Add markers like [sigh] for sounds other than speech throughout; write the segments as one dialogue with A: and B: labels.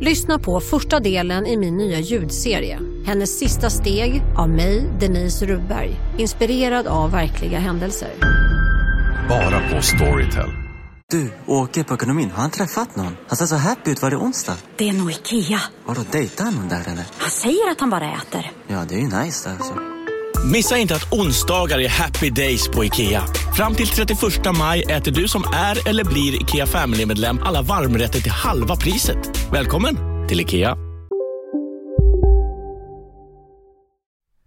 A: Lyssna på första delen i min nya ljudserie. Hennes sista steg av mig, Denise Rubberg. Inspirerad av verkliga händelser.
B: Bara på Storytel.
C: Du, åker på ekonomin, har han träffat någon? Han ser så happy ut. Var det onsdag?
D: Det är nog Ikea.
C: Har du dejtar han någon där eller?
D: Han säger att han bara äter.
C: Ja, det är ju nice där alltså.
E: Missa inte att onsdagar är happy days på IKEA. Fram till 31 maj äter du som är eller blir IKEA Family-medlem alla varmrätter till halva priset. Välkommen till IKEA.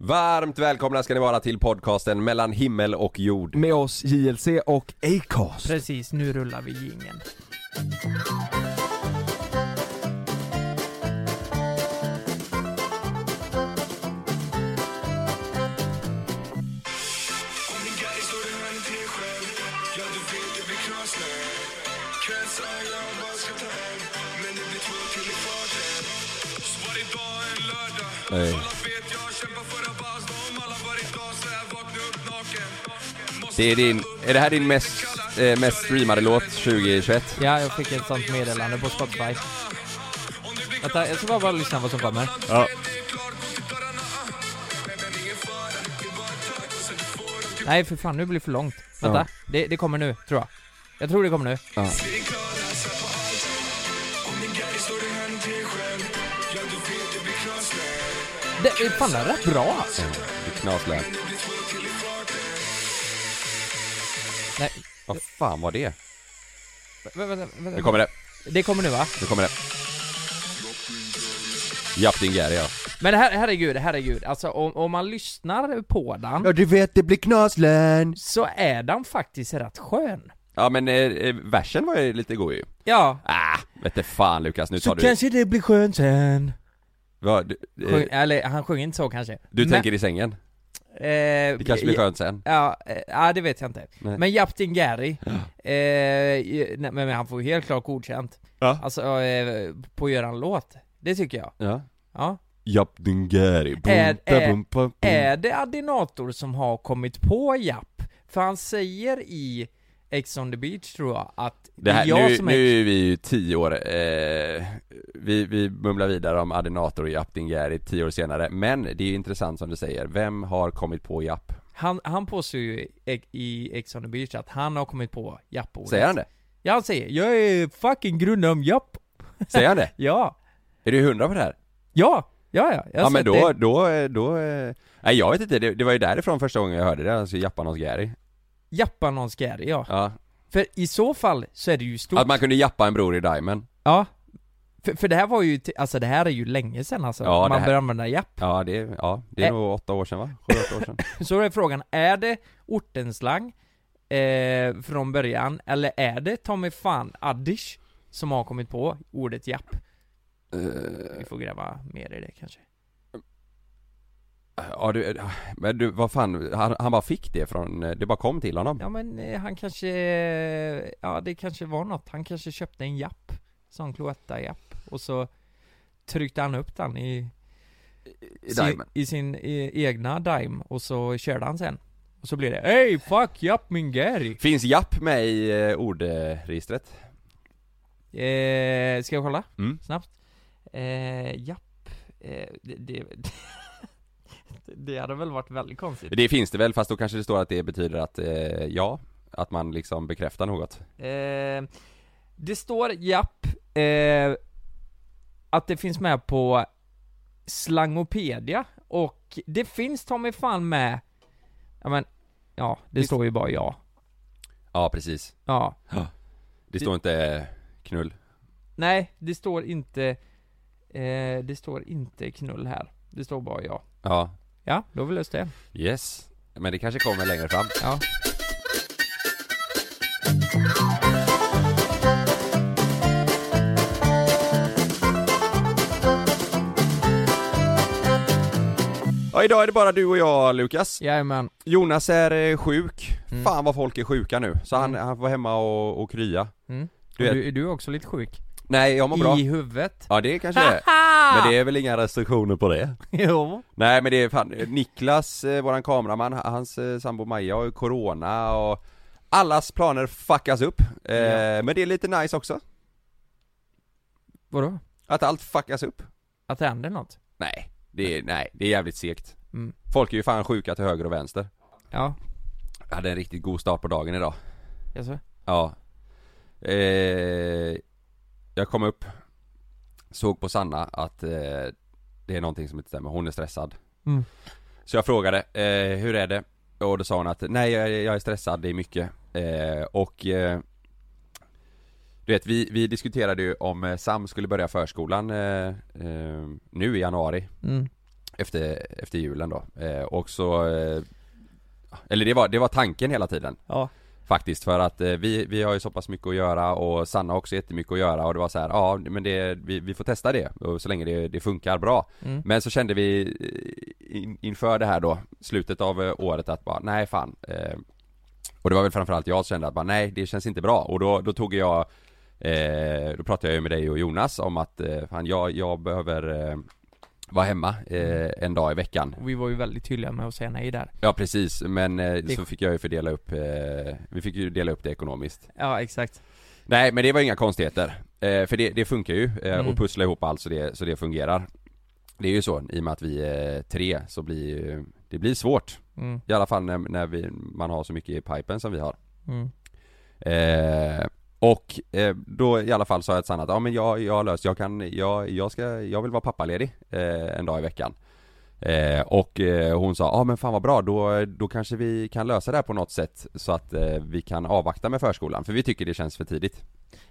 F: Varmt välkomna ska ni vara till podcasten mellan himmel och jord.
G: Med oss JLC och Acast.
H: Precis, nu rullar vi jingeln.
F: Nej. Det är din, är det här din mest, eh, mest streamade låt 2021?
H: Ja, jag fick ett sånt meddelande på Spotify. Vänta, jag ska bara, bara lyssna vad som kommer.
F: Ja.
H: Nej, för fan, nu blir det för långt. Vänta, det, det kommer nu, tror jag. Jag tror det kommer nu.
F: Ja.
H: Det är fan det är rätt bra. alltså.
F: Det är knaslöp.
H: Nej,
F: Vad fan var det?
H: vä- vänta, vänta.
F: Nu kommer det,
H: Det kommer nu va?
F: nu kommer det. Japp din Gary ja.
H: Men her herregud, herregud. Alltså om, om man lyssnar på den
G: Ja du vet det blir knaslen.
H: så är den faktiskt rätt skön.
F: Ja men eh, eh, versen var ju lite god ju.
H: Ja.
F: Ah, vete fan Lukas, nu tar du...
H: det blir skönt sen.
F: Vad, du eh,
H: Sjung, eller han sjunger inte så kanske.
F: du
H: Men-
F: tänker i sängen?
H: Eh,
F: Det kanske blir skönt sen?
H: Ja, eh, ja, det vet jag inte.
F: Nej.
H: Men Japtin Gary, eh, ju- nej, men han får ju helt klart godkänt.
F: Ja.
H: Alltså, eh, på att göra en låt. Det tycker jag.
F: Ja.
H: Ja.
F: Japp din Gary. Bum,
H: Är-
F: da,
H: är-
F: bum, ba, bum.
H: Är det Adinator som har kommit på Japp? För han säger i Ex on the beach tror jag att
F: Det här,
H: jag
F: nu,
H: som är...
F: nu är vi ju tio år, eh, vi, vi mumlar vidare om Adinator och Japp din Gary tio år senare, men det är ju intressant som du säger, vem har kommit på Japp?
H: Han, han påstår ju i- i Ex on the beach att han har kommit på Japp-ordet.
F: Säger han det?
H: Ja, han säger 'Jag är fucking grundad om Japp' [laughs]
F: Säger han det?
H: Ja,
F: Är du hundra på det här?
H: ja, ja, ja. Jag har
F: ja men
H: sett
F: då,
H: det.
F: då, eh, då, eh, nej jag vet inte, det, det var ju därifrån första gången jag hörde det, alltså Jappanons Gary.
H: Jappa någon Gary, ja.
F: Ja.
H: För i så fall så är det ju stort.
F: Att man kunde jappa en bror i Diamond.
H: Ja. För, för det här var ju, t- alltså det här är ju länge sedan alltså.
F: Ja, det
H: man
F: här-
H: började använda japp.
F: Ja det, är- ja, det är
H: Ä-
F: nog åtta år sedan va? Sju, åtta år
H: [laughs]
F: sedan.
H: Så då är frågan, är det ortenslang eh, från början, eller är det ta mig fan addish som har kommit på ordet japp? Vi får gräva mer i det kanske.
F: Eh, Ja du, men du, vad fan, han, han bara fick det från, eh, det bara kom till honom.
H: Ja men eh, han kanske, eh, ja det kanske var något. Han kanske köpte en japp, sån Cloetta-japp, och så tryckte han upp den i
F: I
H: sin,
F: Diamond.
H: i sin eh, egna Dime och så körde han sen. Och så blir det Hey fuck japp min Gary!
F: Finns japp med i eh, ordregistret?
H: Eh, ska jag kolla?
F: Mm.
H: Snabbt. Eh, japp. Eh, det, det, [laughs] det hade väl varit väldigt konstigt.
F: Det finns det väl, fast då kanske det står att det betyder att, eh, ja, att man liksom bekräftar något.
H: Eh, det står japp, eh, att det finns med på Slangopedia och det finns ta mig fan med, ja men, ja det står ju bara ja.
F: Ja precis,
H: Ja.
F: det står inte eh, knull.
H: Nej, det står inte eh, Det står inte knull här Det står bara ja
F: Ja,
H: Ja, då har vi löst det
F: yes. Men det kanske kommer längre fram.
H: Ja
F: Ja, idag är det bara du och jag Lukas.
H: Jajamän.
F: Jonas är eh, sjuk.
H: Mm.
F: Fan vad folk är sjuka nu. Så han, han var hemma och, och krya.
H: Mm.
F: Du
H: Du
F: vet-
H: är... Du, är du också lite sjuk?
F: Nej, jag mår bra.
H: I huvudet?
F: Ja det kanske det [laughs] är. Men det är väl inga restriktioner på det?
H: jo.
F: Nej men det är fan, Niklas, eh, våran kameraman, h- hans eh, sambo Maja har ju corona och allas planer fuckas upp. Eh,
H: Ja.
F: Men det är lite nice också,
H: Vadå?
F: att allt fuckas upp.
H: Att det händer något?
F: Nej, det är, nej, det är jävligt segt.
H: Mm.
F: Folk är ju fan sjuka till höger och vänster.
H: Ja,
F: Jag hade en riktigt god start på dagen idag.
H: jaså?
F: Ja. Eh, jag kom upp, såg på Sanna att eh, det är någonting som inte stämmer, hon är stressad.
H: Mm.
F: Så jag frågade, eh, hur är det? Och då sa hon att, nej jag, jag är stressad, det är mycket. Eh, och eh, du vet, vi, vi diskuterade ju om eh, Sam skulle börja förskolan eh, eh, nu i januari
H: Mm.
F: efter, efter julen då. Eh, och så, eh, eller det var, det var tanken hela tiden.
H: Ja.
F: Faktiskt för att eh, vi, vi har ju så pass mycket att göra och Sanna har också jättemycket att göra och det var så här, ja men det, vi, vi får testa det och så länge det, det funkar bra.
H: Mm.
F: Men så kände vi eh, in, inför det här då, slutet av eh, året att bara, nej fan. Eh, och det var väl framförallt jag som kände att bara, nej det känns inte bra och då, då tog jag eh, Då pratade jag ju med dig och Jonas om att, eh, fan jag, jag behöver eh, vara hemma eh, en dag i veckan
H: Och vi var ju väldigt tydliga med att säga nej där.
F: Ja precis, men eh, så fick jag ju fördela upp, eh, vi fick ju dela upp det ekonomiskt
H: Ja, exakt.
F: Nej men det var inga konstigheter, eh, för det, det funkar ju eh,
H: Mm.
F: och pussla ihop allt så det, så det fungerar Det är ju så, i och med att vi är tre så blir ju- det blir svårt
H: Mm.
F: I alla fall när, när vi, man har så mycket i pipen som vi har
H: Mm.
F: Eh, och eh, då i alla fall sa jag till Sanna att ja men jag, jag har löst, jag kan, jag, jag ska, jag vill vara pappaledig eh, en dag i veckan eh, Och eh, hon sa, ja ah, men fan vad bra, då, då kanske vi kan lösa det här på något sätt så att eh, vi kan avvakta med förskolan, för vi tycker det känns för tidigt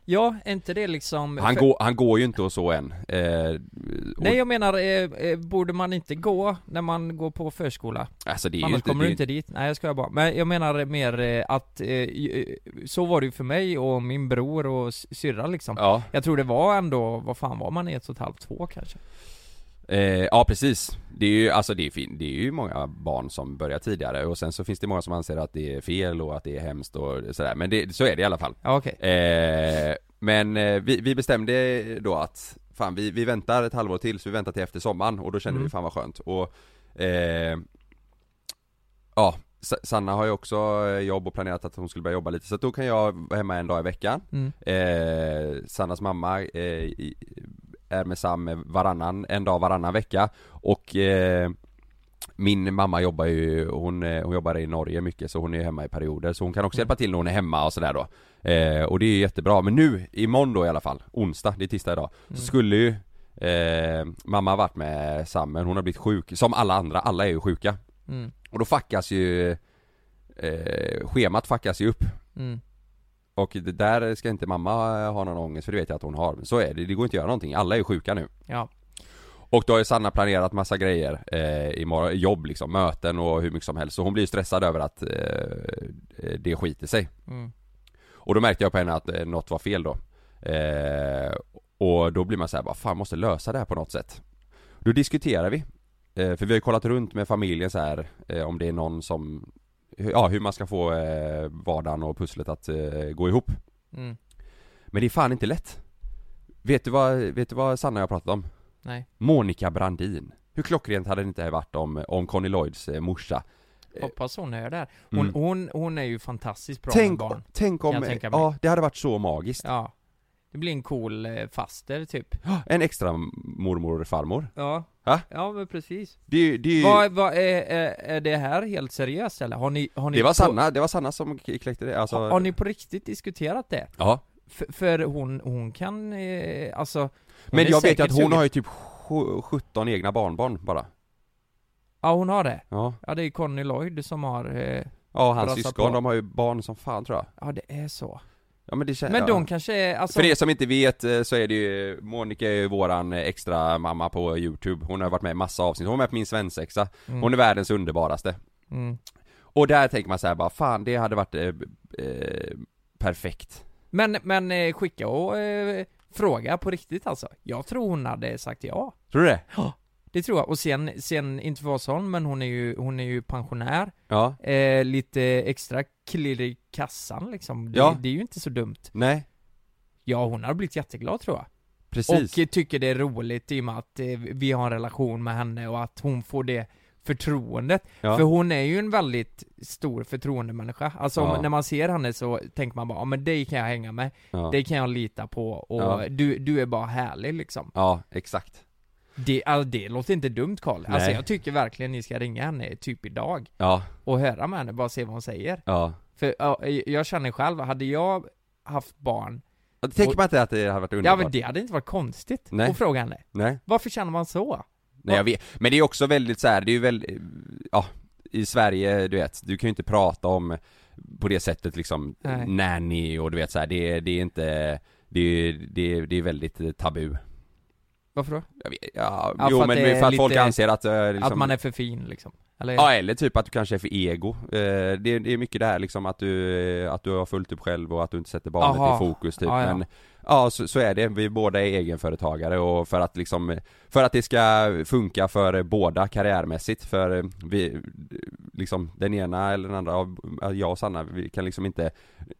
H: Ja, är inte det liksom...
F: Han,
H: för-
F: går, han går ju inte och så än eh, och,
H: Nej jag menar, eh, eh, borde man inte gå när man går på förskola?
F: Alltså det är ju
H: Annars
F: inte,
H: kommer
F: det,
H: du inte dit. Nej jag skojar bara. Men jag menar mer eh, att, eh, ju- eh, så var det ju för mig och min bror och s- syrra liksom.
F: Ja,
H: Jag tror det var ändå, vad fan var man i ett och ett halvt, två kanske?
F: Eh, ja precis. Det är ju, alltså det är, fin- det är ju många barn som börjar tidigare och sen så finns det många som anser att det är fel och att det är hemskt och sådär. Men det, så är det i alla fall.
H: Ja okej.
F: Eh, men eh, vi, vi bestämde då att fan vi, vi väntar ett halvår till så vi väntar till efter sommaren och då kände
H: Mm.
F: vi fan vad skönt. Och eh, ja, Sa- Sanna har ju också eh, jobb och planerat att hon skulle börja jobba lite så att då kan jag vara hemma en dag i veckan.
H: Mm.
F: Eh, Sannas mamma eh, i- är med Sam eh, varannan, en dag varannan vecka och eh, min mamma jobbar ju, hon, eh, hon jobbar i Norge mycket så hon är ju hemma i perioder så hon kan också hjälpa till när hon är hemma och sådär då eh, Och det är ju jättebra, men nu, imorgon då i alla fall, onsdag, det är tisdag idag, så skulle ju eh, mamma ha varit med Sam men hon har blivit sjuk, som alla andra, alla är ju sjuka
H: Mm.
F: Och då fuckas ju, eh, schemat fuckas ju upp
H: Mm.
F: och det där ska inte mamma ha någon ångest för det vet jag att hon har. Men så är det, det går inte att göra någonting. Alla är ju sjuka nu.
H: Ja.
F: Och då har ju Sanna planerat massa grejer eh, imorgon, jobb liksom, möten och hur mycket som helst. Så hon blir ju stressad över att eh, det skiter sig.
H: Mm.
F: Och då märkte jag på henne att eh, något var fel då. Eh, och då blir man så här, bara, fan måste lösa det här på något sätt. Då diskuterar vi. Eh, för vi har ju kollat runt med familjen så här eh, om det är någon som, ja hur man ska få eh, vardagen och pusslet att eh, gå ihop.
H: Mm.
F: Men det är fan inte lätt Vet du vad, vet du vad Sanna och jag pratat om?
H: Nej.
F: Monica Brandin Hur klockrent hade det inte varit om, om Conny Lloyds eh, morsa?
H: Hoppas hon är där. Hon,
F: Mm.
H: hon, hon är ju fantastiskt bra med
F: tänk,
H: barn.
F: tänk
H: Kan
F: om,
H: jag tänka mig.
F: ja det hade varit så magiskt
H: Ja. Det blir en cool eh, faster typ.
F: En extra mormor och farmor
H: Ja.
F: Ja.
H: Ja men precis.
F: Det, är ju- det, är ju-
H: Vad, vad, är, är, är det här helt seriöst eller? Har ni, har ni
F: det var
H: på,
F: Sanna, det var Sanna som k- kläckte det alltså,
H: Har, har ni på riktigt diskuterat det?
F: Ja
H: För, för hon, hon kan, eh, alltså hon
F: Men
H: är
F: jag vet ju
H: säkert
F: att hon
H: sugen.
F: har ju typ sju- 17 egna barnbarn bara
H: Ja hon har det.
F: Ja,
H: Ja det är Conny Lloyd som har, eh,
F: ja och hans
H: Brassa
F: syskon,
H: på.
F: de har ju barn som fan tror jag
H: ja det är så.
F: Ja men det känns
H: Men
F: ja.
H: de kanske är, alltså,
F: För er som inte vet eh, så är det ju, Monica är ju våran eh, extra mamma på youtube Hon har varit med i massa avsnitt, hon var med på min svensexa
H: Mm.
F: Hon är världens underbaraste
H: mm.
F: Och där tänker man så här bara, fan det hade varit eh, b- eh, perfekt
H: Men, men eh, skicka och eh, fråga på riktigt alltså. Jag tror hon hade sagt ja.
F: Tror du det?
H: Ja. Det tror jag. Och sen, sen inte Vasaholm, men hon är ju, hon är ju pensionär.
F: Ja,
H: Eh, lite extra klirr i kassan liksom. Det,
F: Ja.
H: det är ju inte så dumt.
F: nej,
H: Ja, hon har blivit jätteglad tror jag.
F: precis.
H: Och eh, tycker det är roligt i och med att eh, vi har en relation med henne och att hon får det förtroendet.
F: ja.
H: För hon är ju en väldigt stor förtroendemänniska. Alltså om-
F: Ja.
H: när man ser henne så tänker man bara, ja men dig kan jag hänga med,
F: ja.
H: dig kan jag lita på och
F: Ja.
H: du, du är bara härlig liksom.
F: ja, exakt.
H: Det, alltså, det låter inte dumt Karl. Alltså
F: Nej.
H: jag tycker verkligen ni ska ringa henne typ idag
F: Ja,
H: och höra med henne, bara se vad hon säger.
F: ja.
H: För ja, jag känner själv, hade jag haft barn,
F: Och Tänker
H: Och-
F: man inte att det hade varit
H: ja
F: underbart?
H: men det hade inte varit konstigt
F: Nej.
H: att fråga henne.
F: Nej,
H: Varför känner man så?
F: nej jag vet. Men det är också väldigt så här, det är ju väldigt, ja, i Sverige, du vet, du kan ju inte prata om på det sättet liksom
H: Nej.
F: nanny och du vet så här, det, det är inte, det, är- det, är- det är väldigt eh, tabu.
H: Varför då?
F: Jag vet, ja,
H: Ja,
F: jo
H: för att
F: men
H: det är
F: för att folk
H: lite-
F: anser att, eh, liksom,
H: Att man är för fin liksom? Eller?
F: Ja eller typ att du kanske är för ego. Eh, det, är- det är mycket det här liksom att du, eh, att du har fullt upp själv och att du inte sätter barnet
H: Aha.
F: i fokus typ.
H: Ja, ja.
F: Men ja, så, så är det. Vi båda är egenföretagare och för att liksom, eh, för att det ska funka för eh, båda karriärmässigt för eh, vi, eh, liksom den ena eller den andra, av- ja, jag och Sanna, vi kan liksom inte,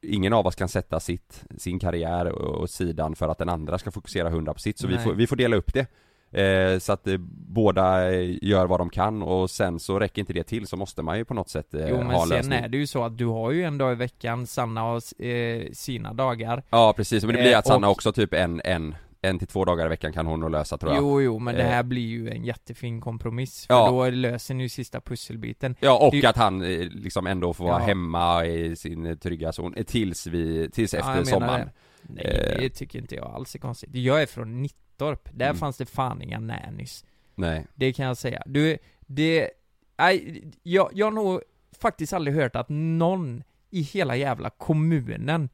F: ingen av oss kan sätta sitt, sin karriär och- åt sidan för att den andra ska fokusera 100 på sitt. Så vi
H: Nej.
F: får, vi får dela upp det. Eh, så att eh, båda eh, gör vad de kan och sen så räcker inte det till så måste man ju på något sätt eh,
H: jo
F: ha
H: men
F: en
H: sen
F: lösning.
H: är det ju så att du har ju en dag i veckan, Sanna har eh, sina dagar
F: Ja precis, men det blir
H: Eh,
F: att Sanna
H: och-
F: också typ en, en, en till två dagar i veckan kan hon nog lösa tror jag.
H: Jo jo, men det
F: Eh.
H: här blir ju en jättefin kompromiss För
F: Ja.
H: då löser ni ju sista pusselbiten
F: Ja och
H: Det-
F: att han eh, liksom ändå får vara
H: Ja.
F: hemma i sin eh, trygga zon eh, tills vi, tills
H: Ja, jag
F: efter
H: menar
F: sommaren.
H: det. Nej
F: Eh.
H: det tycker inte jag alls är konstigt Jag är från Nittorp, där
F: Mm.
H: fanns det fan inga nannys
F: Nej.
H: Det kan jag säga Du, det, nej, jag, jag har nog faktiskt aldrig hört att någon i hela jävla kommunen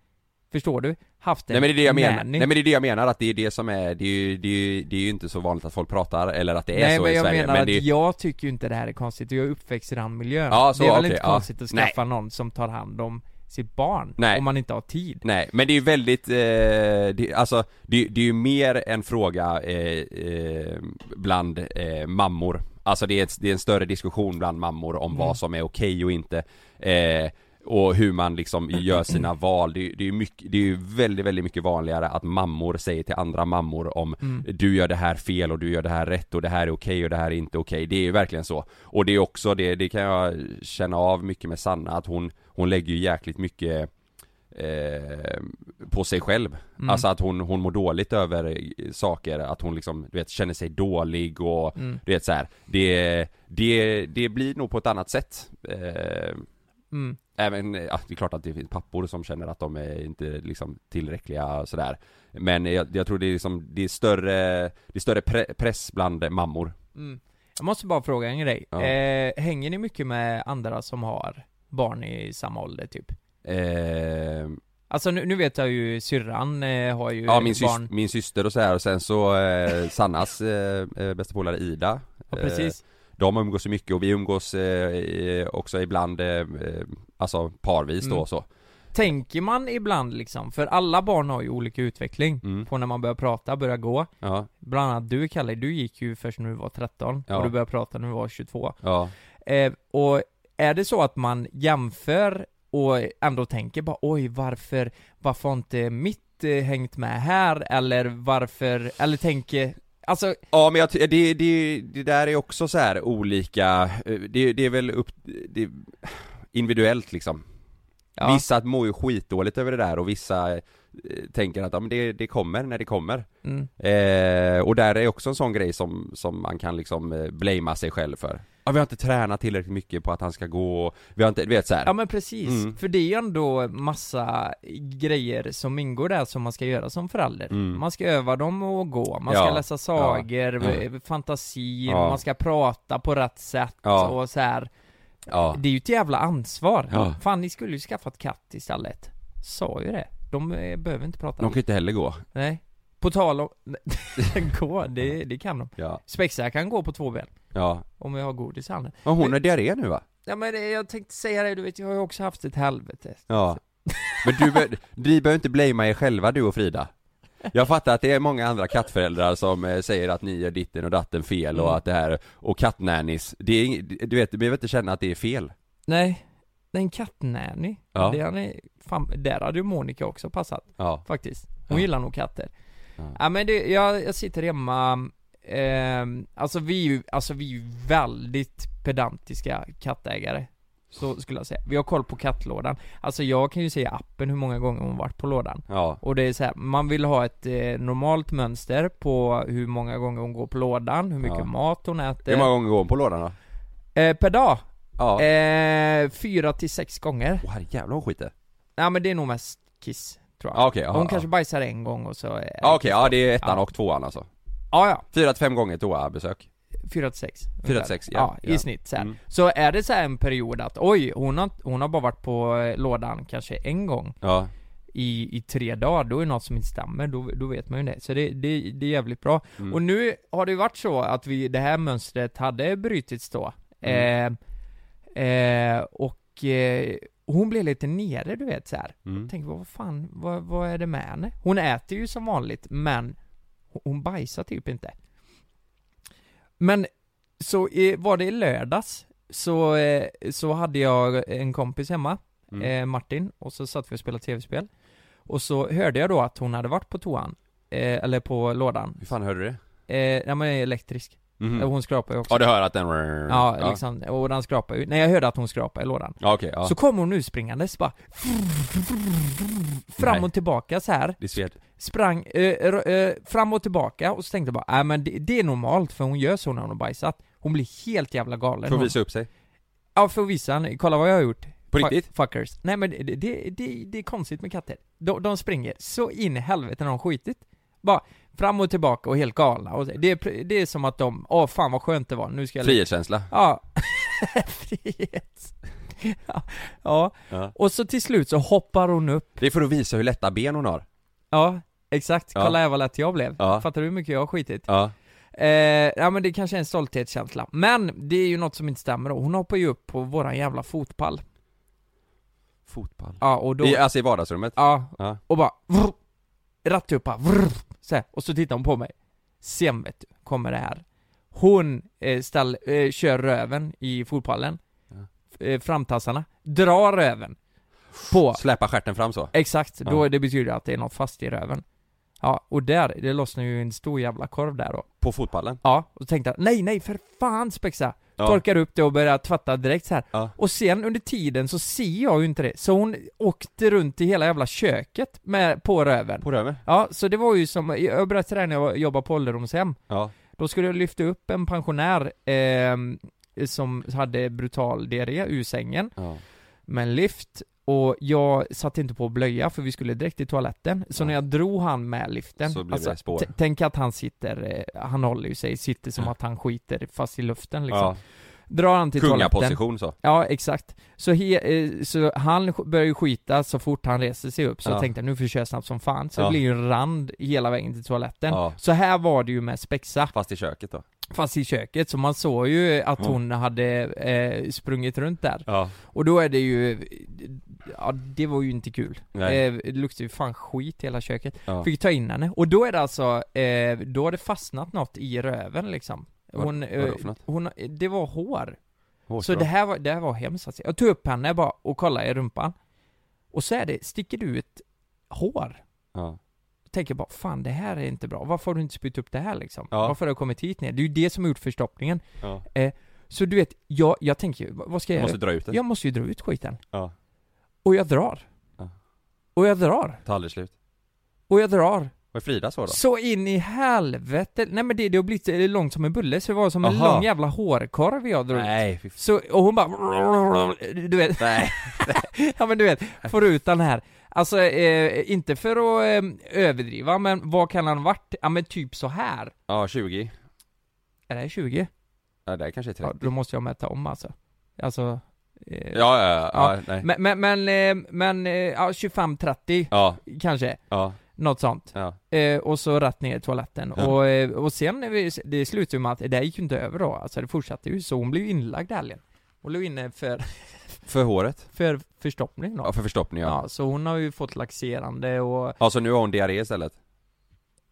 H: Förstår du? Haft en
F: Nej men det är det jag menar,
H: nanny.
F: nej men det är det jag menar att det är det som är, det är ju, det är ju, det är ju inte så vanligt att folk pratar eller att det är
H: Nej
F: så
H: men
F: i
H: jag
F: Sverige
H: menar
F: men
H: att
F: det är,
H: jag tycker ju inte det här är konstigt, jag är uppväxt i den miljön.
F: Ja, så,
H: det är väl
F: okej,
H: inte
F: ja.
H: konstigt att skaffa någon som tar hand om sitt barn,
F: Nej.
H: om man inte har tid.
F: Nej, men det är ju väldigt, eh, det, alltså det, det är ju mer en fråga eh, eh, bland eh, mammor Alltså det är, ett, det är en större diskussion bland mammor om vad som är okej och inte eh, Och hur man liksom gör sina val, det, är- det är ju mycket, det är ju väldigt, väldigt mycket vanligare att mammor säger till andra mammor om Du gör det här fel och du gör det här rätt och det här är okej och det här är inte okej Det är ju verkligen så Och det är också, det, det kan jag känna av mycket med Sanna att hon, hon lägger ju jäkligt mycket eh, på sig själv.
H: Mm.
F: Alltså att hon, hon mår dåligt över eh, saker, att hon liksom, du vet, känner sig dålig och
H: Mm.
F: du vet så här. Det, det, det blir nog på ett annat sätt. Eh,
H: Mm.
F: Även, eh, ja, det är klart att det finns pappor som känner att de är inte liksom tillräckliga och sådär. Men jag, jag tror det är liksom, det är större, det är större pre- press bland mammor.
H: Jag måste bara fråga en grej.
F: Ja.
H: Eh, hänger ni mycket med andra som har barn i samma ålder typ?
F: Eh,
H: Alltså nu, nu vet jag ju syrran eh, har ju
F: ja, min,
H: barn.
F: sys- min syster och så här och sen så eh, Sannas eh, eh, bästa polare Ida.
H: Ja,
F: eh,
H: precis.
F: De umgås ju mycket och vi umgås eh, i- också ibland, eh, eh, alltså parvis då
H: Mm.
F: och så.
H: Tänker man ibland liksom, för alla barn har ju olika utveckling
F: Mm.
H: på när man börjar prata, börjar gå.
F: Ja,
H: Bland annat du Kalle, du gick ju först när du var 13
F: Ja.
H: och du började prata när du var 22.
F: ja,
H: Eh, och är det så att man jämför och ändå tänker bara oj varför, varför har inte mitt eh, hängt med här eller varför, eller tänker, alltså
F: ja men jag, ty- det, det, det där är också så här olika, eh, det, det är väl upp, det, individuellt liksom.
H: ja,
F: Vissa mår ju skitdåligt över det där och vissa eh, tänker att ja, men det, det kommer när det kommer.
H: mm.
F: Eh, och där är också en sån grej som, som man kan liksom eh, blamea sig själv för. Ja, vi har inte tränat tillräckligt mycket på att han ska gå, och vi har inte, du vet så här.
H: ja men precis,
F: Mm.
H: för det är ju ändå massa grejer som ingår där som man ska göra som förälder.
F: Mm.
H: Man ska öva dem att gå, man
F: Ja.
H: ska läsa sagor,
F: Ja.
H: eh, fantasin,
F: Ja.
H: man ska prata på rätt sätt
F: Ja.
H: och så här.
F: ja.
H: Det är ju ett jävla ansvar.
F: Ja.
H: Fan, ni skulle ju skaffat katt istället. Sa ju det. De eh, behöver inte prata.
F: De kan ju inte heller gå.
H: Nej. På tal om... [laughs] gå, det, det kan de.
F: Ja,
H: Spexar kan gå på två ben.
F: ja.
H: Om jag har godis i handen.
F: Och hon har diarré nu va?
H: Ja men det, jag tänkte säga det, du vet jag har ju också haft ett helvete.
F: Ja. Men du, be- ni behöver inte blamea er själva du och Frida. Jag fattar att det är många andra kattföräldrar som eh, säger att ni gör ditten och datten fel och att det här, och kattnannies, det är, ing- du vet, du behöver inte känna att det är fel.
H: Nej, det är en kattnanny.
F: Ja.
H: Det är, fan, där hade ju Monica också passat
F: Ja.
H: faktiskt. Hon
F: Ja.
H: gillar nog katter.
F: Ja.
H: Ja, men det, jag, jag sitter hemma, ehm, alltså vi är ju, alltså vi är ju väldigt pedantiska kattägare. Så skulle jag säga. Vi har koll på kattlådan. Alltså jag kan ju se i appen hur många gånger hon varit på lådan.
F: Ja.
H: Och det är så här, man vill ha ett eh, normalt mönster på hur många gånger hon går på lådan, hur mycket
F: Ja.
H: mat hon äter.
F: Hur många gånger går hon på lådan då?
H: eh, per dag?
F: Ja. Åh
H: Eh, fyra till sex gånger.
F: herrejävlar hon skiter.
H: Ja men det är nog mest kiss, tror jag.
F: Ja, okej, ja,
H: Hon
F: ja.
H: kanske bajsar en gång och så... eh,
F: Ja okej, ja det är ettan
H: Ja.
F: och tvåan alltså.
H: ja, ja.
F: Fyra till fem gånger toabesök.
H: Fyra till sex.
F: till
H: ungefär.
F: sex, ja,
H: ja.
F: ja.
H: i snitt så här.
F: Mm.
H: Så är det så här en period att oj, hon har, hon har bara varit på eh, lådan kanske en gång
F: Ja.
H: i, i tre dagar, då är det något som inte stämmer, då, då vet man ju det. Så det, det, det är jävligt bra.
F: Mm.
H: Och nu har det ju varit så att vi, det här mönstret hade brutits då.
F: Mm.
H: Eh, eh, och eh, hon blev lite nere du vet så här.
F: Mm.
H: Jag tänker vad fan, vad, vad är det med henne? Hon äter ju som vanligt men hon bajsar typ inte. Men så i, var det i lördags så, eh, så hade jag en kompis hemma,
F: Mm.
H: eh, Martin, och så satt vi och spelade tv-spel. Och så hörde jag då att hon hade varit på toan, eh, eller på lådan.
F: Hur fan hörde du det?
H: Eh, nej men elektrisk.
F: Mhm.
H: Och Hon skrapar ju också.
F: Ja du hör att den...
H: Ja, liksom, och den skrapar ju. Nej jag hörde att hon skrapar i lådan.
F: Ja okej, ja.
H: Så kom hon urspringandes bara Fram
F: Nej.
H: och tillbaka så här
F: Det är sved.
H: Sprang, eh, r- eh, fram och tillbaka och så tänkte jag bara, nej men det, det är normalt för hon gör så när hon har bajsat Hon blir helt jävla galen
F: Får
H: hon.
F: visa upp sig.
H: Ja för att visa, henne. kolla vad jag har gjort
F: På
H: Fuck-
F: riktigt?
H: Fuckers Nej men det, det, det, det är konstigt med katter De, de springer så in i helvete när de skitit Bara fram och tillbaka och helt galna och det, är pr- det är som att de, åh fan vad skönt det var, nu ska jag
F: Frihetskänsla.
H: Ja, [laughs] frihet. ja. ja,
F: Ja.
H: och så till slut så hoppar hon upp.
F: Det är för att visa hur lätta ben hon har.
H: Ja, exakt.
F: Ja.
H: Kolla här vad lätt jag blev.
F: Ja.
H: Fattar du hur mycket jag har skitit?
F: Ja.
H: Eh, ja men det kanske är en stolthetskänsla. Men det är ju något som inte stämmer då. Hon hoppar ju upp på våran jävla fotpall.
F: Fotboll.
H: Ja, och då...
F: I, alltså i vardagsrummet?
H: Ja,
F: Ja.
H: och bara... Vrr, rattupa, vrr, så här. Och så tittar hon på mig. Sen vet du, kommer det här. Hon eh, ställ, eh, kör röven i fotpallen. Eh, framtassarna. Drar röven. På.
F: Släpa stjärten fram så?
H: Exakt, då
F: Ja.
H: det betyder att det är något fast i röven. Ja, och där, det lossnar ju en stor jävla korv där då.
F: På fotballen?
H: Ja, och så tänkte jag, nej nej för fan spexa!
F: Ja.
H: Torkar upp det och börjar tvätta direkt så här.
F: Ja.
H: Och sen under tiden så ser jag ju inte det, så hon åkte runt i hela jävla köket med, på röven.
F: På röven?
H: Ja, så det var ju som, jag berättade det här när jag jobbade på ålderdomshem.
F: Ja.
H: Då skulle jag lyfta upp en pensionär ehm, som hade brutal diarré ur sängen
F: ja.
H: med en lift och jag satte inte på blöja för vi skulle direkt till toaletten, så
F: Ja.
H: när jag drog han med liften, alltså,
F: Så blev det spår.
H: t- tänk att han sitter, eh, han håller ju sig, sitter som
F: Ja.
H: att han skiter fast i luften liksom.
F: ja.
H: Drar han till toaletten.
F: Kungaposition så?
H: Ja, exakt. Så, he, eh, så han sk- börjar ju skita så fort han reser sig upp, så
F: Ja.
H: jag tänkte nu försöker jag snabbt som fan, så
F: Ja.
H: det blir ju en rand hela vägen till toaletten.
F: Ja.
H: Så här var det ju med spexa,
F: Fast i köket då?
H: fast i köket, så man såg ju att
F: Ja.
H: hon hade eh, sprungit runt där.
F: Ja.
H: Och då är det ju, ja det var ju inte kul.
F: Nej.
H: Eh, det luktade ju fan skit i hela köket.
F: Ja.
H: Fick ta in henne, och då är det alltså, eh, då har det fastnat något i röven liksom.
F: Vad-
H: Hon,
F: vadå för något?
H: hon, det var hår. Så
F: Hårstrå.
H: det här var, det här var hemskt alltså. Jag tog upp henne bara och kollade i rumpan. Och så är det, sticker det ut hår.
F: Ja.
H: Jag tänker bara, fan det här är inte bra. Varför har du inte spytt upp det här liksom?
F: Ja.
H: Varför har du kommit hit ner? Det är ju det som har gjort förstoppningen.
F: Ja.
H: Eh, så du vet, jag, jag tänker, vad vad ska
F: Du
H: jag
F: måste
H: göra?
F: dra ut den?
H: Jag måste ju dra ut skiten.
F: Ja.
H: Och jag drar.
F: Ja.
H: Och jag drar.
F: Ta aldrig slut.
H: Och jag drar.
F: Var är Frida så då?
H: Så in i helvete. Nej men det, det har blivit eh, långt som en bulle, så det var som en
F: Aha.
H: lång jävla hårkorv jag drog ut.
F: Nej, fy f-
H: Så, och hon bara Du vet,
F: Nej.
H: [laughs] ja men du vet, får ut den här Alltså, eh, inte för att eh, överdriva, men vad kan han ha varit? Ja men typ så här
F: Ja, 20.
H: Är det här 20?
F: Ja, det kanske är 30.
H: Ja, då måste jag mäta om alltså Alltså eh,
F: Ja, ja, ja, ja,
H: Ja.
F: nej.
H: Men, men, men, eh, men eh, ja, 25-30
F: Ja,
H: kanske,
F: ja,
H: något sånt
F: ja.
H: Eh, och så rätt ner i toaletten.
F: Ja.
H: Och, eh, och sen, när vi, det slutade ju med att det där gick ju inte över då, alltså det fortsatte ju så, hon blev ju inlagd i helgen. Hon låg inne för,
F: För håret?
H: för förstoppning då.
F: Ja, för förstoppning ja.
H: Ja, så hon har ju fått laxerande och,
F: Ja, så nu har hon diarré istället?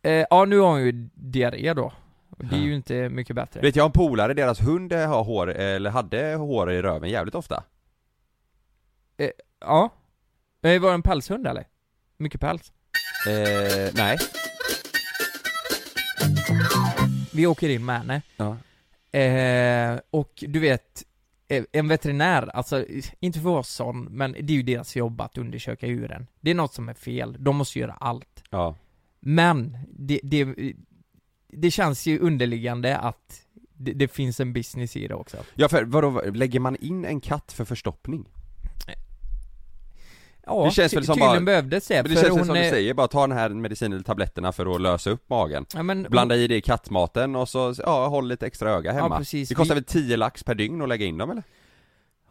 H: Eh, ja, nu har hon ju diarré då. Och det är ju inte mycket bättre.
F: Vet jag har en polare, deras hund eh, har hår, eller hade hår i röven jävligt ofta
H: Ja. Eh, var det en pälshund eller? Mycket päls.
F: eh, nej
H: Vi åker in med henne.
F: Ja.
H: Eh, och du vet, eh, en veterinär, alltså inte för att vara sån, men det är ju deras jobb att undersöka djuren. Det är något som är fel, de måste göra allt.
F: Ja,
H: Men det, det, det känns ju underliggande att det, det finns en business i det också.
F: ja för vadå, lägger man in en katt för förstoppning?
H: Ja,
F: Det känns
H: ty-
F: väl som
H: tydligen
F: bara-
H: behövdes det,
F: Men det
H: för
F: känns väl
H: hon
F: som du
H: är-
F: säger, bara ta den här medicinen eller tabletterna för att lösa upp magen
H: Ja, men,
F: Blanda i det i kattmaten och så, ja, håll lite extra öga hemma
H: Mm, Ja, precis.
F: Det kostar
H: Vi-
F: väl 10 lax per dygn att lägga in dem eller?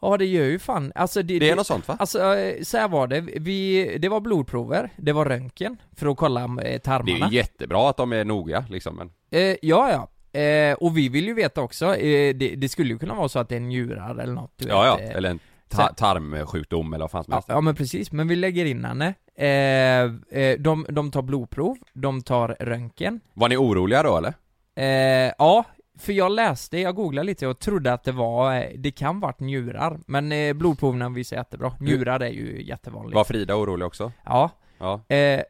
H: ja det gör ju fan, alltså det,
F: Det är något sånt va?
H: Alltså, eh, så här var det. Vi, det var blodprover, det var röntgen för att kolla eh,
F: Det är
H: tarmarna.
F: ju jättebra att de är noga liksom men
H: eh, ja, ja. Eh, och vi vill ju veta också, eh, det, det skulle ju kunna vara så att det är en njurare eller något. Du
F: Ja, ja,
H: vet, eh.
F: eller en ta-
H: sen-
F: tarmsjukdom eller vad fan som
H: ja,
F: helst
H: ja, men precis. Men vi lägger in henne. Eh, eh, de, de tar blodprov, de tar röntgen.
F: Var ni oroliga då eller?
H: Eh, ja, för jag läste, jag googlade lite och trodde att det var, eh, det kan varit njurar. Men eh, blodproverna visar jättebra. Njurar är ju jättevanligt.
F: Var Frida orolig också?
H: Ja.
F: Ja
H: Eh,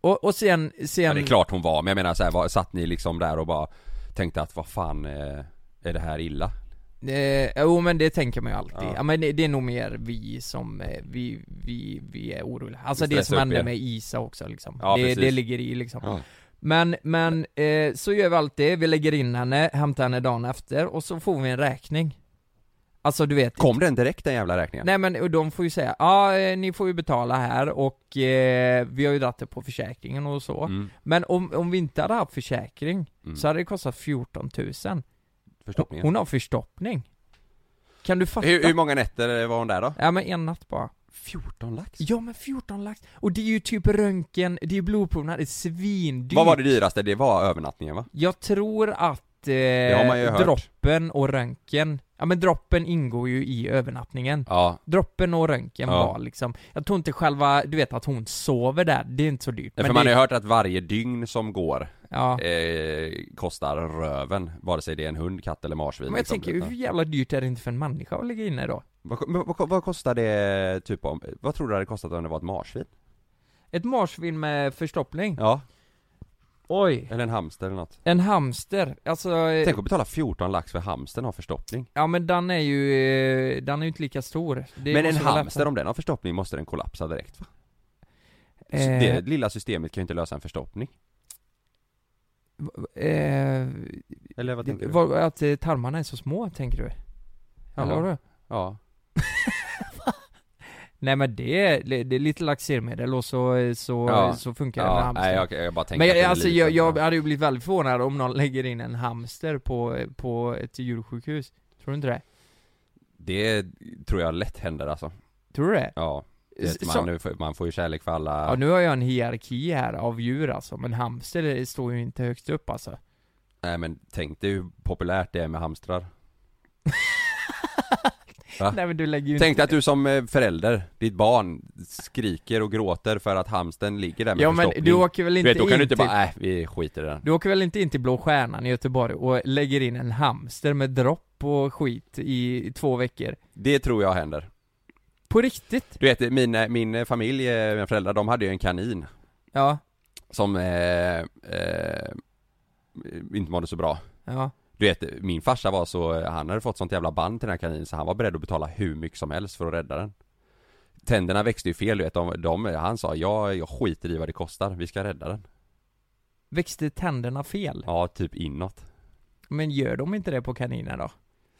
H: och, och sen, sen...
F: Ja, det är klart hon var, men jag menar så här, var, satt ni liksom där och bara tänkte att vad fan eh, är det här illa?
H: Eh, jo men det tänker man ju alltid.
F: Ja.
H: Ja. men det, det är nog mer vi som, eh, vi, vi, vi är oroliga. Alltså
F: Vi
H: det som
F: stressar upp
H: hände
F: er.
H: med Isa också liksom.
F: Ja,
H: det,
F: precis.
H: det ligger i liksom.
F: Ja.
H: Men, men eh, så gör vi alltid, vi lägger in henne, hämtar henne dagen efter och så får vi en räkning. Alltså du vet,
F: Kom den direkt den jävla räkningen?
H: nej men och de får ju säga, ja eh, ni får ju betala här och eh, vi har ju dragit det på försäkringen och så.
F: Mm,
H: Men om, om vi inte hade haft försäkring
F: Mm.
H: så hade det kostat 14 000.
F: förstoppningen.
H: Hon har förstoppning. Kan du fatta?
F: hur, hur många nätter var hon där då?
H: Ja men en natt bara.
F: 14 lax?
H: Ja men 14 lax. Och det är ju typ röntgen, det är ju blodproverna, det är svindyrt.
F: Vad var det dyraste? Det var övernattningen va?
H: Jag tror att
F: har man ju
H: eh,
F: hört.
H: droppen och röntgen, ja men droppen ingår ju i övernattningen.
F: Ja,
H: Droppen och röntgen
F: Ja.
H: var liksom, jag tror inte själva, du vet att hon sover där, det är inte så dyrt.
F: för
H: Men
F: man har
H: det,
F: ju hört att varje dygn som går
H: ja.
F: eh, kostar röven, vare sig det är en hund, katt eller marsvin
H: Men jag
F: liksom.
H: tänker, hur jävla dyrt är det inte för en människa att ligga inne då?
F: vad, men vad, vad kostar det typ om, vad tror du det hade kostat om det var ett marsvin?
H: Ett marsvin med förstoppning?
F: Ja,
H: Oj.
F: eller en hamster eller något
H: En hamster, alltså... eh,
F: Tänk att betala 14 lax för hamstern har förstoppning
H: Ja men den är ju, eh, den är ju inte lika stor. Det
F: Men en
H: måste väl
F: hamster, om den har förstoppning måste den kollapsa direkt va? Så
H: Eh.
F: Det lilla systemet kan ju inte lösa en förstoppning
H: Eh,
F: Eller vad
H: det,
F: tänker
H: var, att eh, tarmarna är så små, tänker du? Eller
F: Ja.
H: vadå?
F: du? Ja
H: Nej men det är, det är lite laxermedel och så, eh, så,
F: Ja.
H: så funkar det med
F: Ja,
H: hamster.
F: nej jag, jag bara tänker
H: men
F: att
H: jag,
F: den är
H: alltså
F: liten.
H: jag, jag hade ju blivit väldigt förvånad om någon lägger in en hamster på, på ett djursjukhus. Tror du inte det?
F: Det tror jag lätt händer alltså
H: Tror du det?
F: Ja, det,
H: S-
F: man,
H: så-
F: nu får- man får ju kärlek för alla
H: ja nu har jag en hierarki här av djur alltså, men hamster står ju inte högst upp alltså.
F: Nej men tänk dig hur populärt det är med hamstrar Va?
H: [laughs] Nej men du lägger ju
F: Tänk dig att du som eh, förälder, ditt barn skriker och gråter för att hamsten ligger där med
H: Ja men
F: förstoppning
H: du åker väl
F: Du
H: inte
F: vet, då kan
H: in
F: du inte
H: till...
F: bara, äh, vi skiter i den
H: Du åker väl inte in till Blå Stjärnan i Göteborg och lägger in en hamster med dropp och skit i två veckor?
F: Det tror jag händer
H: På riktigt?
F: Du vet, min, min familj, eh, mina föräldrar, de hade ju en kanin
H: Ja,
F: som eh, eh, inte mådde så bra.
H: ja.
F: Du vet, min farsa var så, eh, han hade fått sånt jävla band till den här kaninen så han var beredd att betala hur mycket som helst för att rädda den. Tänderna växte ju fel, du vet, de, de, han sa jag, jag skiter i vad det kostar, vi ska rädda den.
H: Växte tänderna fel?
F: Ja, typ inåt.
H: Men gör de inte det på kaniner då?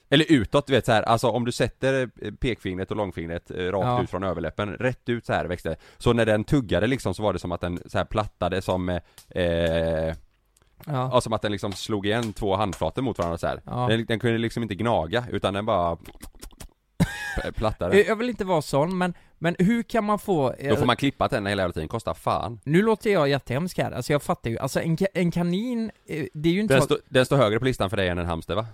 F: Eller utåt, du vet så här, alltså om du sätter eh, pekfingret och långfingret eh, rakt
H: Ja.
F: ut från överläppen, rätt ut så här växte det. Så när den tuggade liksom så var det som att den så här plattade som eh, eh,
H: Ja.
F: Ja, som att den liksom slog igen två handflator mot varandra så här.
H: Ja.
F: Den, den kunde liksom inte gnaga, utan den bara p- plattade.
H: Eh, Jag jag vill inte vara sån, men, men hur kan man få... eh,
F: Då får man klippa tänderna hela jävla tiden, kostar fan.
H: Nu låter jag jättehemsk här, alltså jag fattar ju. Alltså en, ka- en kanin, eh, det är ju inte
F: Den,
H: så...
F: stå, den står högre på listan för dig än en hamster va?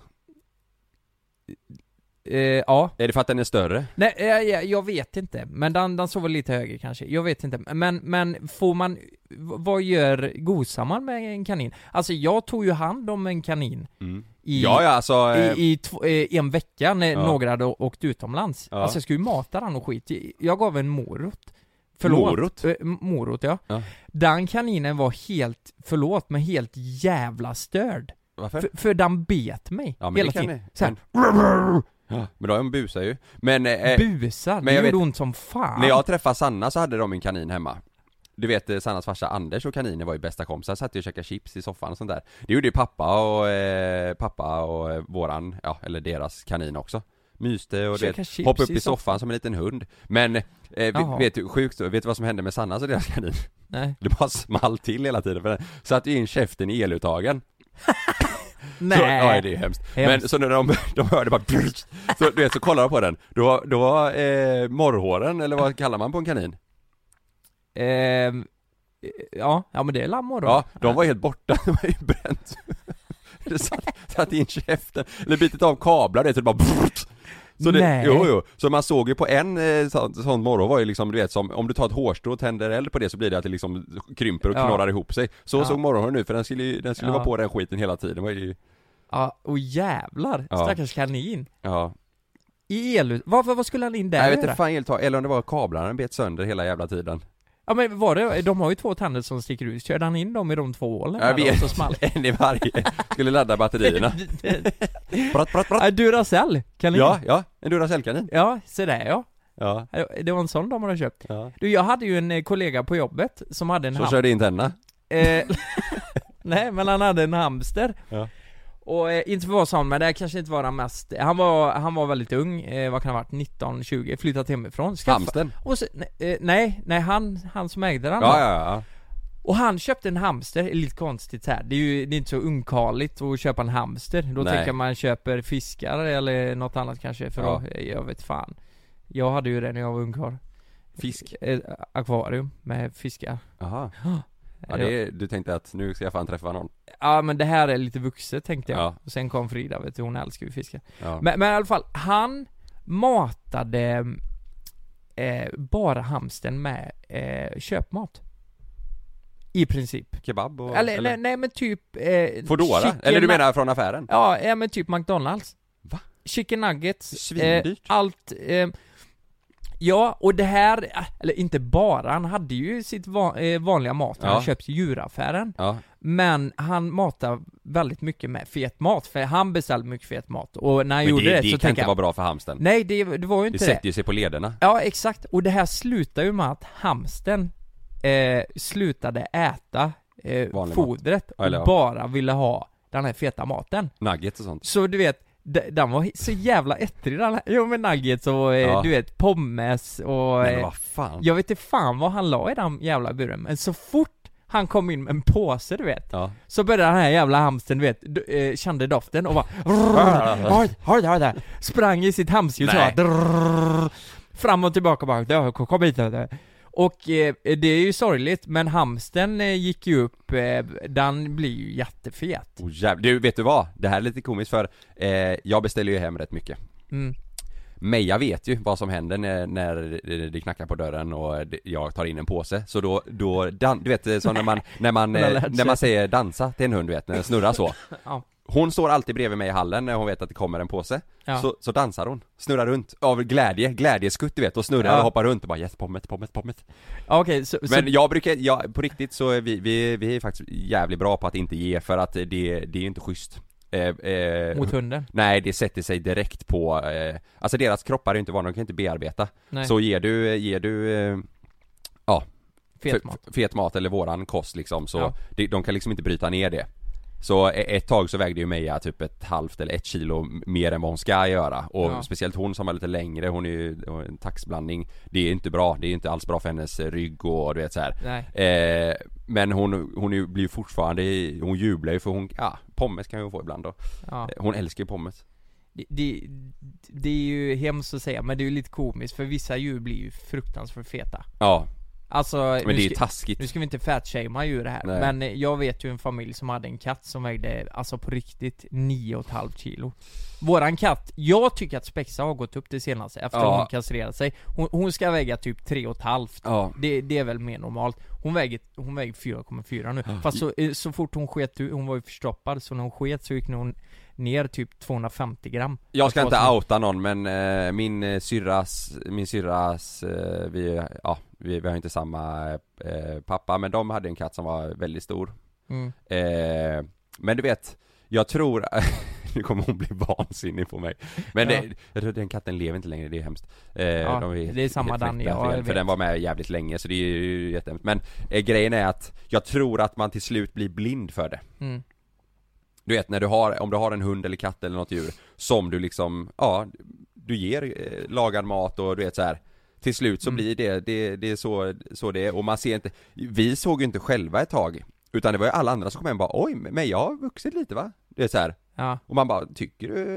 H: Eh, ja.
F: Är det för att den är större?
H: Nej, eh, jag, jag vet inte. Men den, den såg väl lite högre kanske. Jag vet inte. Men, men får man, v- vad gör gosaman med en kanin? Alltså jag tog ju hand om en kanin i,
F: Mm. Ja, ja alltså... eh,
H: i, i två, eh, en vecka när
F: Ja.
H: några hade å- åkt utomlands.
F: Ja.
H: Alltså jag skulle ju mata den och skit. Jag gav en morot. Förlåt.
F: Morot?
H: Eh, m- morot ja.
F: Ja.
H: Den kaninen var helt, förlåt, men helt jävla störd.
F: Varför?
H: För, för den bet mig
F: Ja, men
H: hela
F: det kan
H: tiden.
F: ni.
H: Så här,
F: Ja, men då är de busar ju. Men eh,
H: busar,
F: men
H: det
F: jag
H: gjorde
F: vet-
H: ont som fan.
F: När jag träffade Sanna så hade de en kanin hemma Du vet eh, Sannas farsa Anders och kaninen var ju bästa kompisar, satt ju och käkade chips i soffan och sånt där Det gjorde ju pappa och, eh, pappa och eh, våran, ja eller deras kanin också Myste och det,
H: Käka chips
F: hoppade upp
H: i
F: i soffan, som en liten hund Men, eh,
H: Jaha.
F: vi- vet du, sjukt, vet du vad som hände med Sannas och deras kanin? [laughs]
H: Nej.
F: Det bara small till hela tiden för den satte ju in käften i eluttagen så, ja, det är hemskt.
H: Hemskt.
F: Men så när de, [laughs] de hörde bara så, du vet, så kollade de på den. Då var, då var eh, morrhåren, eller vad kallar man på en kanin?
H: Ehm, ja, ja men det är lammor då.
F: Ja, de var helt borta, [laughs] de var ju bränt. Det satt, satt in käften, eller bitit av kablar du vet, så det bara så det,
H: Nej.
F: jo, jo, så man såg ju på en eh, sån, sån morgon var ju liksom, du vet som, om du tar ett hårstrå och tänder eld på det så blir det att det liksom krymper och
H: Ja.
F: knorrar ihop sig Så
H: Ja.
F: såg morgonhåren ut, för den skulle, ju- den skulle
H: Ja.
F: vara på den skiten hela tiden, det var ju,
H: Ja, och jävlar,
F: Ja.
H: stackars kanin.
F: ja
H: I el varför, vad skulle han in där
F: Nej, Jag
H: och
F: vet inte
H: göra?
F: fan helt eller om det var kablarna den bet sönder hela jävla tiden
H: Ja men var det, de har ju två tänder som sticker ut, körde han in dem i de två hålen
F: Jag
H: där då,
F: vet
H: så [laughs] small
F: En i varje, skulle ladda
H: [laughs]
F: batterierna Bratt, bratt, bratt
H: Ja, Duracell, kanin.
F: Ja, ja, en Duracellkanin
H: Ja, se där ja.
F: Ja,
H: Det var en sån de hade köpt.
F: ja
H: Du, jag hade ju en eh, kollega på jobbet som hade en
F: Så
H: hamster.
F: körde in tänderna
H: Eh, [laughs] nej, men han hade en hamster.
F: Ja.
H: Och eh, inte för vad sa han, men det här kanske inte var den mest, han var, han var väldigt ung, eh, vad kan han ha varit, 19, 20, flyttat hemifrån, skaffa-
F: Hamsten
H: Och så, ne- eh, nej, nej han, han som ägde den
F: Ja,
H: då.
F: ja, ja
H: Och han köpte en hamster, det är lite konstigt här. Det är ju det är inte så ungkarligt att köpa en hamster. Då
F: Nej.
H: tänker man köper fiskar eller något annat kanske för
F: Ja.
H: att, eh, jag vet fan. Jag hade ju det när jag var ungkarl.
F: Fisk
H: Ett akvarium med fiskar.
F: Jaha Ja, det är, du tänkte att nu ska jag fan träffa någon
H: Ja men det här är lite vuxet tänkte jag.
F: Ja.
H: Och sen kom Frida vet du, hon älskar ju fiskar.
F: ja.
H: Men, men i alla fall, han matade eh, bara hamsten med eh, köpmat. I princip.
F: Kebab och,
H: eller, nej, nej men typ... Eh,
F: Foodora?
H: chicken
F: Eller du
H: nug-
F: menar från affären?
H: Ja, ja men typ McDonalds.
F: Va?
H: Chicken nuggets. Eh,
F: Svindyrt
H: allt... Eh, ja, och det här, eh, eller inte bara, han hade ju sitt va- eh, vanliga mat, han
F: Ja.
H: köpte i djuraffären.
F: Ja,
H: Men han matar väldigt mycket med fet mat, för han beställde mycket fet mat. Och när han
F: men
H: gjorde
F: det,
H: det,
F: det kan
H: så tänkte
F: inte
H: jag...
F: vara bra för hamsten
H: Nej, det, det var ju
F: Det
H: inte det.
F: sätter ju sig på lederna
H: Ja, exakt. Och det här slutar ju med att hamsten eh, slutade äta eh,
F: mat.
H: fodret och
F: Eller ja.
H: bara ville ha den här feta maten.
F: Nuggets och sånt
H: Så du vet, de- den var he- så jävla ettrig den här. Jo men nuggets och eh,
F: Ja.
H: du vet pommes och...
F: Men
H: Eh,
F: vad fan
H: jag vet inte fan vad han la i den jävla buren, men så fort han kom in med en påse du vet
F: Ja.
H: Så började den här jävla hamsten du vet, d- eh, kände doften
F: [laughs]
H: och bara har, har, har, har, Sprang i sitt hamsterhjul så
F: Nej.
H: bara, drrrr, Fram och tillbaka bara "Dö, kom- kom hit dö." Och eh, det är ju sorgligt men hamsten eh, gick ju upp, eh, den blir ju jättefet
F: Oh, jävlar. Du, vet du vad? Det här är lite komiskt för eh, jag beställer ju hem rätt mycket.
H: Mm.
F: Meja vet ju vad som händer när, när det knackar på dörren och det- jag tar in en påse. Så då, då dan, du vet som när man, när man,
H: Hon har
F: eh,
H: lärt
F: när
H: sig.
F: man säger dansa till en hund du vet, när den snurrar så.
H: Ja.
F: Hon står alltid bredvid mig i hallen när hon vet att det kommer en påse.
H: Ja.
F: Så, så dansar hon, snurrar runt av glädje, glädjeskutt du vet och snurrar
H: Ja.
F: och hoppar runt och bara yes pommet, pommet, pommet.
H: Ja, Okej, så, så
F: Men jag brukar, ja, på riktigt så är vi, vi, vi är faktiskt jävligt bra på att inte ge för att det, det är inte schysst eh, eh,
H: mot hunden?
F: Nej det sätter sig direkt på, eh, alltså deras kroppar är ju inte vana, de kan inte bearbeta
H: Nej,
F: Så ger du, ger du eh,
H: fet mat
F: f- fet mat eller våran kost liksom så
H: Ja.
F: de, de kan liksom inte bryta ner det så e- ett tag så vägde ju Meja typ ett halvt eller ett kilo m- mer än vad hon ska göra och
H: Ja.
F: speciellt hon som är lite längre, hon är ju hon är en taxblandning Det är inte bra, det är inte alls bra för hennes eh, rygg och du vet så här.
H: Nej,
F: Eh, men hon, hon är ju- blir ju fortfarande, hon jublar ju för hon, ja, pommes kan hon få ibland då.
H: ja.
F: Hon älskar ju pommes.
H: Det, det, det är ju hemskt att säga, men det är ju lite komiskt för vissa djur blir ju fruktansvärt feta.
F: Ja.
H: Alltså,
F: Men det är ju
H: nu
F: taskigt.
H: ska vi inte fatshamea djur här,
F: Nej.
H: men jag vet ju en familj som hade en katt som vägde, alltså på riktigt, 9,5 kilo Våran katt, jag tycker att Spexa har gått upp det senaste efter
F: Ja.
H: hon kastrerade sig Hon, hon ska väga typ 3,5
F: Ja.
H: det, det är väl mer normalt Hon väger, hon väger 4,4 nu, fast så, eh, så fort hon sket ut, hon var ju förstoppad, så när hon sket så gick hon ner typ 250 gram Alltså,
F: Jag ska
H: Vad
F: inte
H: som-
F: outa någon men eh, min eh, syrras, min syrras, eh, vi, ja, vi, vi har inte samma eh, pappa men de hade en katt som var väldigt stor
H: Mm.
F: eh, Men du vet, jag tror, [laughs] nu kommer hon bli vansinnig på mig Men
H: Ja.
F: det, jag tror den katten lever inte längre, det är hemskt eh,
H: Ja,
F: helt-
H: det är samma
F: helt
H: Dan,
F: knäckta
H: ja,
F: för-
H: jag
F: För
H: vet.
F: den var med jävligt länge så det är ju jättehemskt Men eh, grejen är att jag tror att man till slut blir blind för det
H: Mm.
F: du vet när du har, om du har en hund eller katt eller något djur Som du liksom, ja Du ger eh, lagad mat och du vet så här. Till slut så
H: Mm.
F: blir det, det, det är så, så det är och man ser inte Vi såg ju inte själva ett tag Utan det var ju alla andra som kom hem och bara oj, men jag har vuxit lite va? Det är så här.
H: Ja,
F: och man bara tycker du?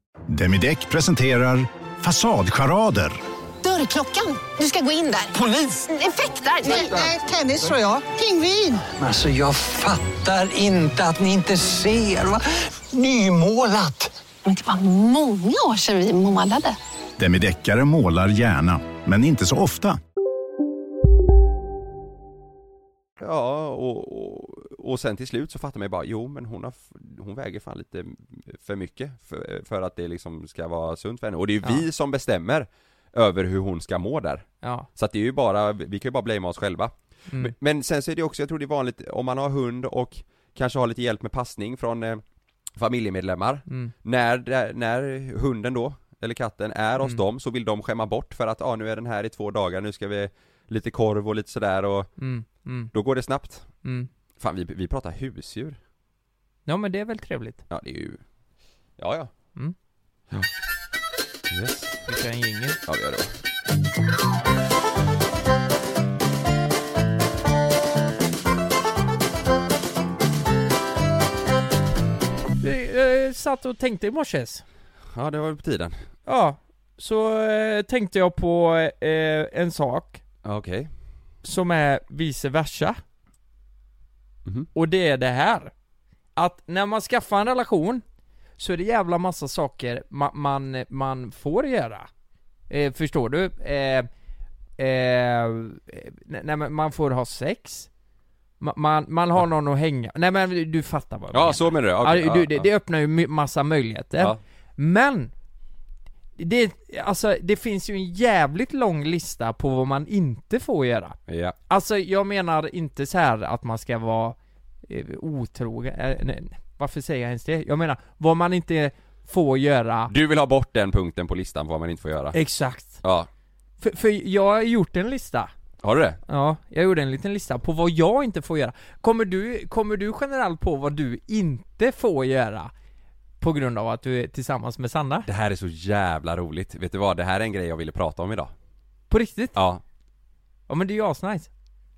I: Demideck presenterar Fasadcharader.
J: Dörrklockan. Du ska gå in där. Polis? Effektar? Nej, nej, tennis tror jag. Pingvin.
K: Alltså jag fattar inte att ni inte ser. Va? Nymålat!
J: Men det var många år sedan vi målade.
I: Demideckare målar gärna, men inte så ofta.
F: Ja och, och, och sen till slut så fattar man ju bara jo men hon har, f- hon väger fan lite för mycket för, för att det liksom ska vara sunt för henne och det är ju
H: Ja.
F: vi som bestämmer över hur hon ska må där
H: ja,
F: Så att det är ju bara, vi kan ju bara blamea oss själva
H: Mm.
F: men, men sen så är det också, jag tror det är vanligt om man har hund och kanske har lite hjälp med passning från eh, familjemedlemmar
H: Mm.
F: när, där- när hunden då, eller katten, är hos
H: Mm.
F: dem så vill de skämma bort för att ah, nu är den här i två dagar, nu ska vi lite korv och lite sådär och
H: mm, mm,
F: då går det snabbt
H: mm.
F: Fan vi, vi pratar husdjur
H: Ja men det är väl trevligt?
F: Ja det är ju Ja ja
H: Mm.
F: Ja Yes
H: Vi kör en jingel
F: Ja vi gör det va.
H: Jag eh, satt och tänkte i morses.
F: Ja det var väl på tiden
H: Ja, så eh, tänkte jag på eh, en sak
F: Ja, Okej
H: som är vice versa.
F: Mhm.
H: Och det är det här. Att när man skaffar en relation så är det jävla massa saker ma- man, man får göra. Eh, förstår du? Eh, eh, nej, nej, men man får ha sex. Ma- Man, man har någon att hänga. Nej men du fattar vad jag
F: Ja så menar du? Okej,
H: ja, du, det,
F: ja.
H: det öppnar ju my- massa möjligheter.
F: Ja.
H: Men! Det, alltså, det finns ju en jävligt lång lista på vad man inte får göra.
F: Ja,
H: Alltså jag menar inte så här att man ska vara eh, otrogen, eh, nej, nej. varför säger jag ens det? Jag menar, vad man inte får göra
F: Du vill ha bort den punkten på listan vad man inte får göra?
H: Exakt.
F: Ja,
H: För, för jag har gjort en lista
F: har du det?
H: Ja, jag gjorde en liten lista på vad jag inte får göra. Kommer du, kommer du generellt på vad du inte får göra? På grund av att du är tillsammans med Sanna?
F: Det här är så jävla roligt, vet du vad? Det här är en grej jag ville prata om idag
H: På riktigt?
F: Ja
H: Ja men det är ju asnice.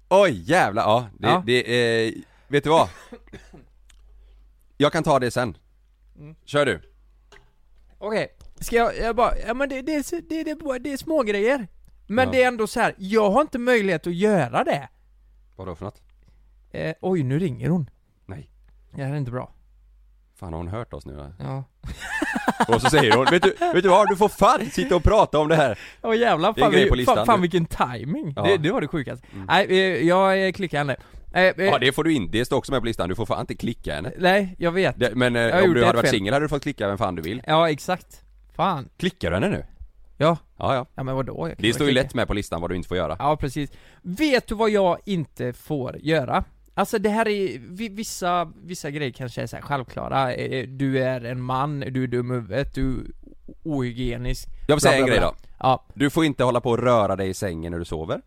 F: Oj jävlar, ja, det,
H: Ja.
F: det eh, vet du vad? Jag kan ta det sen Kör du!
H: Okej, ska jag, jag bara, ja men det, det, är så- det, det, det, är små grejer. Men
F: Ja.
H: det är ändå så här. jag har inte möjlighet att göra det.
F: Vadå för något?
H: Eh, oj, nu ringer hon.
F: Nej.
H: Det här är inte bra.
F: Fan har hon hört oss nu eller?
H: Ja.
F: Och så säger hon, vet du, vet du vad? Du får fan sitta och prata om det här!
H: Åh jävlar,
F: Det är en
H: fan,
F: grej på
H: vi,
F: listan
H: fan, fan
F: nu.
H: vilken timing.
F: Ja. Mm.
H: Det, det var det sjukaste. Nej, eh, jag eh, klickar henne. Eh, eh,
F: Ja det får du inte, det står också med på listan, du får fan inte klicka henne
H: Nej, jag vet.
F: det, Men eh,
H: Jag har
F: om
H: gjort
F: du
H: ett
F: hade varit
H: fel.
F: singel hade du fått klicka vem fan du vill
H: Ja, exakt. Fan.
F: Klickar du henne nu?
H: Ja
F: Ja ja,
H: Ja men vadå? Jag kan
F: det
H: väl
F: står ju
H: klicka.
F: lätt med på listan vad du inte får göra
H: Ja, precis. Vet du vad jag inte får göra? Alltså det här är, vi- vissa, vissa grejer kanske är så här självklara, Eh, du är en man, du är dum i huvudet, du är ohygienisk
F: Jag vill säga en
H: bla, bla,
F: grej
H: bla.
F: då
H: Ja.
F: Du får inte hålla på och röra dig i sängen när du sover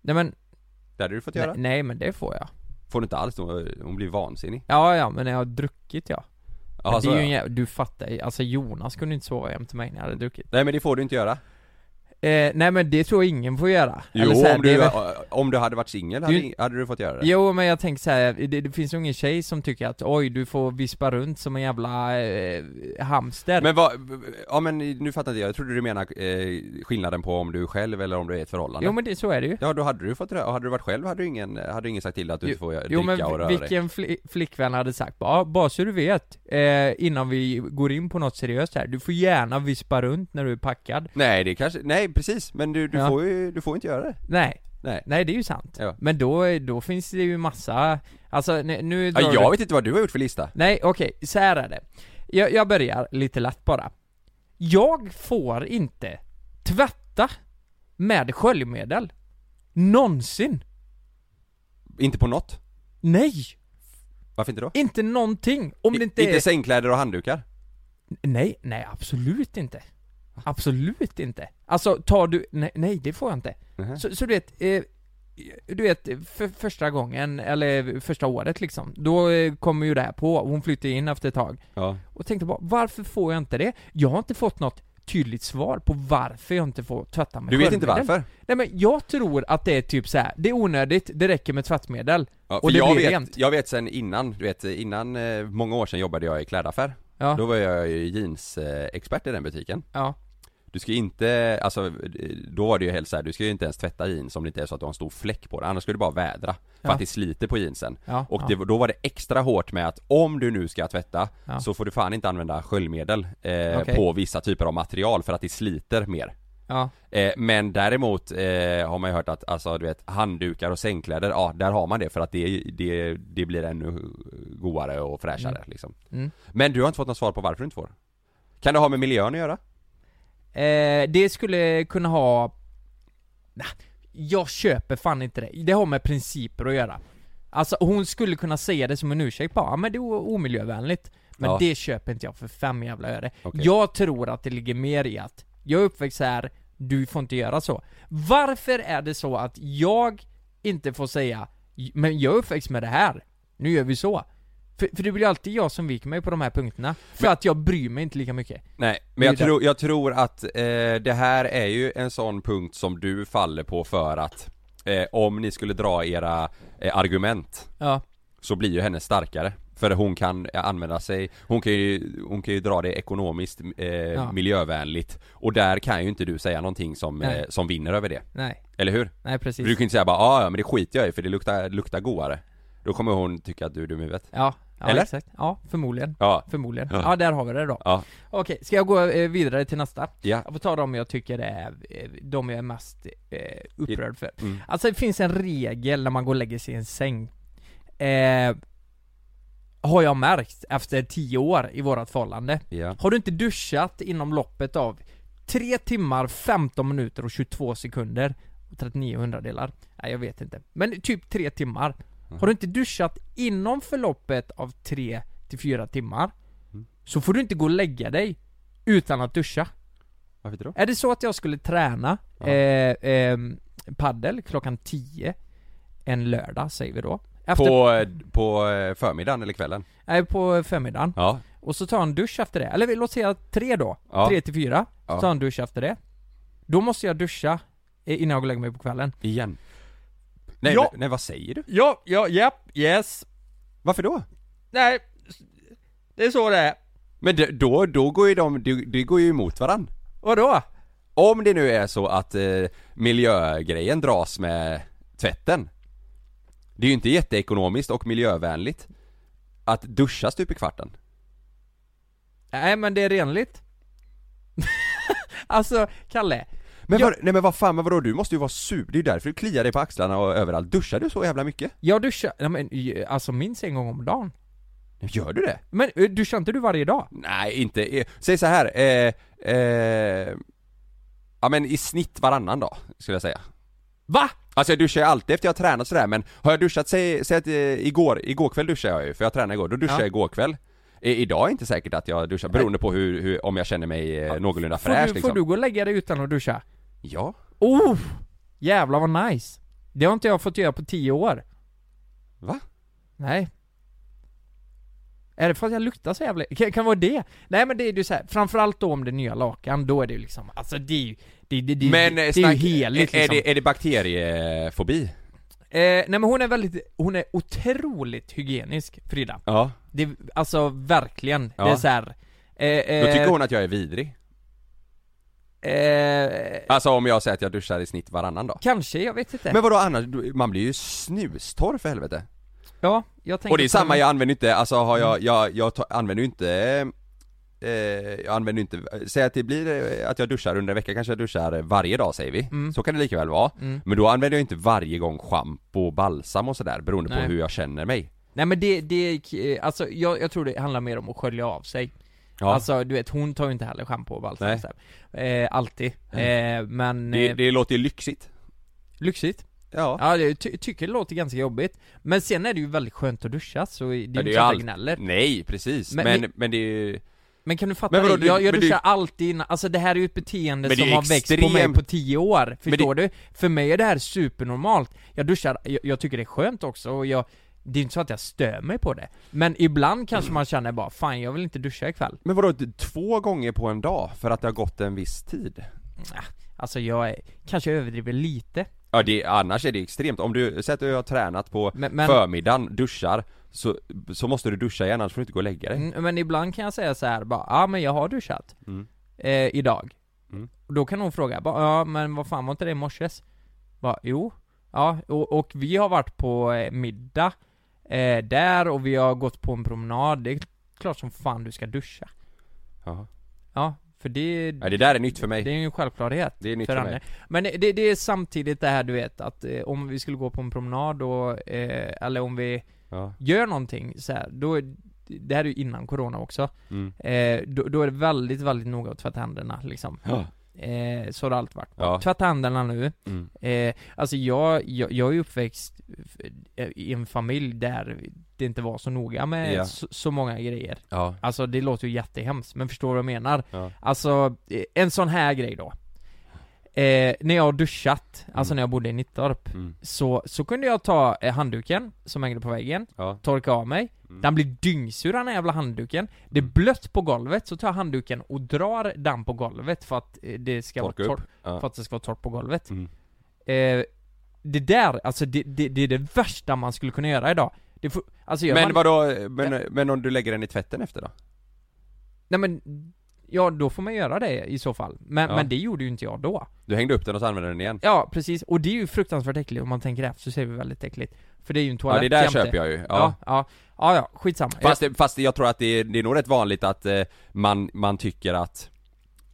H: Nej men,
F: Det hade du fått
H: nej,
F: göra
H: nej men det får jag
F: Får du inte alls, hon hon blir vansinnig
H: Ja ja, men när jag har druckit ja
F: Ja,
H: Men
F: så
H: det är ju
F: ja.
H: en jäv... Du fattar ju, alltså Jonas kunde inte sova jämte mig när jag hade druckit
F: Nej men det får du inte göra
H: eh, Nej men det tror jag ingen får göra
F: Jo,
H: så här,
F: om,
H: det är
F: du,
H: väl-
F: om du hade varit singel
H: Det
F: hade,
H: är ju-
F: hade du fått göra det
H: Jo men jag tänker så här, det, det finns ju ingen tjej som tycker att oj du får vispa runt som en jävla eh, hamster
F: Men vad, ja men nu fattar inte jag, jag trodde du menar eh, skillnaden på om du är själv eller om du är i ett förhållande
H: Jo men det, så är det ju
F: Ja då hade du fått rö- hade du varit själv hade du ingen, hade du ingen sagt till dig att du inte får dricka
H: Jo men
F: och röra dig
H: vilken fli- flickvän hade sagt bara, bara så du vet, eh, innan vi går in på något seriöst här, du får gärna vispa runt när du är packad
F: Nej det kanske, nej precis, men du, du
H: Ja.
F: får ju, du får inte göra det
H: Nej,
F: Nej,
H: nej det är ju sant
F: Ja.
H: Men då, då finns det ju massa, alltså n- nu
F: ja,
H: drar
F: jag
H: du-
F: vet inte vad du har gjort för lista
H: Nej, okej, så här är det. Jag, jag börjar lite lätt bara. Jag får inte tvätta med sköljmedel. Någonsin.
F: Inte på något?
H: Nej!
F: Varför inte då?
H: Inte någonting. Om det inte,
F: inte
H: är...
F: sängkläder och handdukar?
H: Nej, nej absolut inte. Absolut inte. Alltså, tar du... Nej, nej det får jag inte.
F: Mhm.
H: Så, så du vet, eh, du vet, för första gången, eller första året liksom, då eh, kommer ju det här på, hon flyttar in efter ett tag.
F: Ja.
H: Och tänkte bara, varför får jag inte det? Jag har inte fått något tydligt svar på varför jag inte får tvätta med
F: Du vet inte
H: sköljmedel.
F: varför?
H: Nej men jag tror att det är typ så här. det är onödigt, det räcker med tvättmedel.
F: Ja, för
H: och det
F: jag
H: blir
F: vet,
H: rent.
F: jag vet sen innan, du vet innan, eh, många år sedan jobbade jag i klädaffär
H: Ja.
F: Då var jag ju jeansexpert i den butiken
H: Ja.
F: Du ska inte, alltså eh, då var det ju helt så här, du ska ju inte ens tvätta jeans om det inte är så att du har en stor fläck på det, annars skulle du bara vädra För
H: Ja.
F: att det sliter på jeansen
H: Ja,
F: Och
H: ja.
F: det, då var det extra hårt med att om du nu ska tvätta
H: Ja.
F: så får du fan inte använda sköljmedel eh,
H: Okej.
F: på vissa typer av material för att det sliter mer
H: Ja.
F: Eh, men däremot eh, har man ju hört att, alltså du vet, handdukar och sängkläder, ja där har man det för att det, det, det blir ännu godare och fräschare
H: Mm.
F: liksom.
H: Mm.
F: Men du har inte fått något svar på varför du inte får? Kan det ha med miljön att göra?
H: Eh, det skulle kunna ha... Nah, jag köper fan inte det. Det har med principer att göra. Alltså hon skulle kunna säga det som en ursäkt bara, "Ja, men det är o- omiljövänligt. Men
L: Ja.
H: det köper inte jag för fem jävla öre.
L: Okej.
H: Jag tror att det ligger mer i att, jag är uppväxt så här, du får inte göra så. Varför är det så att jag inte får säga, men jag är uppväxt med det här, nu gör vi så. För, för det blir alltid jag som viker mig på de här punkterna. För att jag bryr mig inte lika mycket.
F: Nej,
H: Det
F: men
H: är
F: jag,
H: ju
F: tror jag tror att eh, det här är ju en sån punkt som du faller på för att eh, om ni skulle dra era eh, argument
H: Ja.
F: så blir ju henne starkare. För hon kan eh, använda sig, hon kan ju, hon kan ju dra det ekonomiskt, eh,
H: Ja.
F: miljövänligt och där kan ju inte du säga någonting som,
H: Nej.
F: eh, som vinner över det.
H: Nej.
F: Eller hur?
H: Nej, precis.
F: För Du kan ju inte säga bara "Ah, ja men det skiter jag i för det luktar, luktar godare. Då kommer hon tycka att du är dum i huvudet.
H: Ja, ja
F: Eller?
H: exakt. Ja, förmodligen.
F: Ja.
H: Förmodligen.
F: Ja.
H: Ja. där har vi det då.
F: Ja.
H: Okej, ska jag gå eh, vidare till nästa?
F: Ja.
H: Jag får ta de jag tycker är, eh, de jag är mest eh, upprörd för.
F: Mm.
H: Alltså det finns en regel när man går och lägger sig i en säng. Eh, har jag märkt efter 10 år i vårat förhållande.
F: Ja.
H: Har du inte duschat inom loppet av 3 timmar, 15 minuter och 22 sekunder och 39 hundradelar? Nej jag vet inte. Men typ 3 timmar. Har du inte duschat inom förloppet av 3 till 4 timmar
F: Mm.
H: så får du inte gå och lägga dig utan att duscha.
F: Varför inte då?
H: Är det så att jag skulle träna eh, ehm, paddel klockan 10 en lördag säger vi då. Efter,
F: På, eh, på eh, förmiddagen eller kvällen?
H: nej, på förmiddagen.
F: Ja.
H: Och så tar jag en dusch efter det. Eller låt säga tre då.
F: Ja.
H: Tre till fyra. Så
F: Ja.
H: tar jag en dusch efter det. Då måste jag duscha eh, innan jag går och lägger mig på kvällen.
F: Igen. Nej,
H: Ja.
F: nej vad säger du?
H: Ja, ja, japp, yes.
F: Varför då?
H: Nej, det är så det är.
F: Men det, då, då går ju de, det, det går ju emot varann.
H: Vadå?
F: Om det nu är så att eh, miljögrejen dras med tvätten. Det är ju inte jätteekonomiskt och miljövänligt. Att duscha stup i kvarten?
H: Nej men det är renligt. [laughs] alltså, Kalle.
F: Men, vad, nej, men vad fan, men vadå, du måste ju vara sur, det är ju därför du kliar dig på axlarna och överallt. Duschar du så jävla mycket?
H: Jag duschar, nej, men, j- alltså minst en gång om dagen.
F: Gör du det?
H: Men eh, duschar inte du varje dag?
F: Nej, inte, eh, säg så här, eh, eh, ja men i snitt varannan dag, skulle jag säga.
H: Va?
F: Alltså jag duschar ju alltid efter jag har tränat sådär, men har jag duschat, säg, säg att eh, igår, igår kväll duschade jag ju, för jag tränade igår, då duschade
H: Ja.
F: jag igår kväll. I, idag är inte säkert att jag duschar, beroende på hur, hur om jag känner mig eh, någorlunda
H: Får
F: fräsch
H: du,
F: liksom.
H: får du gå och lägga dig utan att duscha?
F: Ja.
H: Oh! Jävlar vad nice. Det har inte jag fått göra på tio år.
F: Va?
H: Nej. Är det för att jag luktar så jävla... Kan, kan vara det? Nej men det är ju så här, framförallt då om det är nya lakan, då är det ju liksom, alltså det är ju... Det, det, det,
F: Men eh,
H: det, det är ju
F: snack,
H: heligt
F: är,
H: liksom.
F: det, är det bakteriefobi?
H: Eh, nej men hon är väldigt, hon är otroligt hygienisk, Frida.
F: Ja.
H: Det, alltså verkligen.
F: Ja.
H: Det är så här. Eh, eh,
F: Då tycker hon att jag är vidrig.
H: Eh,
F: Alltså om jag säger att jag duschar i snitt varannan dag.
H: kanske, jag vet inte.
F: Men vadå annars, Du- man blir ju snustorr för helvete.
H: Ja, jag tänker
F: Och det är
H: på
F: samma, jag använder inte, alltså har
H: Mm.
F: jag, jag, jag ta, använder ju inte eh, jag använder ju inte, säg att det blir eh, att jag duschar under en vecka, kanske jag duschar varje dag säger vi,
H: Mm.
F: så kan det lika väl vara.
H: Mm.
F: Men då använder jag inte varje gång schampo, balsam och sådär beroende
H: Nej.
F: på hur jag känner mig.
H: Nej men det, det, eh, alltså jag, jag tror det handlar mer om att skölja av sig
F: Ja.
H: Alltså du vet, hon tar ju inte heller schampo och balsam
F: Nej.
H: så här. eh, Alltid, eh, men
F: Det,
H: eh,
F: det låter ju lyxigt.
H: lyxigt
F: Ja,
H: ja jag ty- tycker det låter ganska jobbigt Men sen är det ju väldigt skönt att duscha så det är ju
F: Ja,
H: inte
F: ju
H: så att
F: allt-
H: jag gnäller
F: Nej precis,
H: Men-
F: men, men,
H: men-
F: det är ju
H: Men kan du fatta
F: Men vadå,
H: det?
F: du-
H: Jag, jag
F: men du-
H: duschar alltid innan, alltså det här är ju ett beteende
F: Men det är
H: som har växt på mig
F: extremt-
H: på 10 år,
F: det-
H: förstår du? För mig är det här supernormalt, jag duschar, jag, jag tycker det är skönt också och jag det är inte så att jag stör mig på det, men ibland
F: Mm.
H: kanske man känner bara 'Fan jag vill inte duscha ikväll'
F: Men vadå, d- två gånger på en dag för att det har gått en viss tid?
H: Ah, Alltså jag är, kanske överdriver lite
F: Ja det, annars är det extremt, om du, säg att du har tränat på
H: Men- men-
F: förmiddagen, duschar, så, så måste du duscha igen annars får du inte gå och lägga dig.
H: Mm, Men ibland kan jag säga så här, bara 'Ja ah, men jag har duschat'
F: Mm.
H: eh, idag
F: Mm.
H: Och Då kan hon fråga, bara, 'Ja men vad fan var inte det i morses?' Bara, 'Jo' Ja, och, och vi har varit på eh, middag eh, där och vi har gått på en promenad, det är klart som fan du ska duscha
F: Ja.
H: Ja, för det...
F: Ja, det där är nytt för mig.
H: Det är ju en självklarhet
F: Det är nytt
H: för
F: för
H: Anne.
F: mig.
H: Men det, det är samtidigt det här du vet att eh, om vi skulle gå på en promenad och, eh, eller om vi
F: Ja.
H: gör någonting så här, då, är- det här är ju innan corona också,
F: Mm.
H: eh, då, då är det väldigt, väldigt noga att tvätta händerna liksom.
F: Ja.
H: Eh, så har det alltid varit.
F: Ja.
H: Tvätta händerna nu.
F: Mm.
H: Eh, alltså jag, jag, jag är uppväxt eh, i en familj där det inte var så noga med
F: Ja.
H: så, så många grejer.
F: Ja.
H: Alltså det låter ju jättehemskt, men förstår vad jag menar?
F: Ja.
H: Alltså, eh, en sån här grej då. Eh, när jag har duschat, alltså
F: Mm.
H: när jag bodde i Nittorp,
F: Mm.
H: så, så kunde jag ta eh, handduken som hängde på väggen,
F: Ja. Mm.
H: torka av mig, den blir dyngsur den här jävla handduken, det är blött på golvet, så tar jag handduken och drar den på golvet för att eh, det ska
F: Torka
H: vara
F: upp.
H: torrt,
F: Ja.
H: för att det ska vara torrt på golvet.
F: Mm.
H: Eh, det där, alltså det, det, det är det värsta man skulle kunna göra idag. Det får, alltså gör
F: Men
H: man-
F: vadå, men, men om du lägger den i tvätten efter då?
H: Nej men, ja då får man göra det i så fall. Men,
F: Ja.
H: men det gjorde ju inte jag då.
F: Du hängde upp den och så använde den igen?
H: Ja, precis. Och det är ju fruktansvärt äckligt om man tänker efter, så ser vi väldigt äckligt. För det är ju en
F: Ja
H: toalett
F: det där
H: jämte.
F: köper jag ju, ja.
H: Ja, ja, ja, ja skitsamma.
F: Fast, det- fast jag tror att det är, det är nog rätt vanligt att eh, man, man tycker att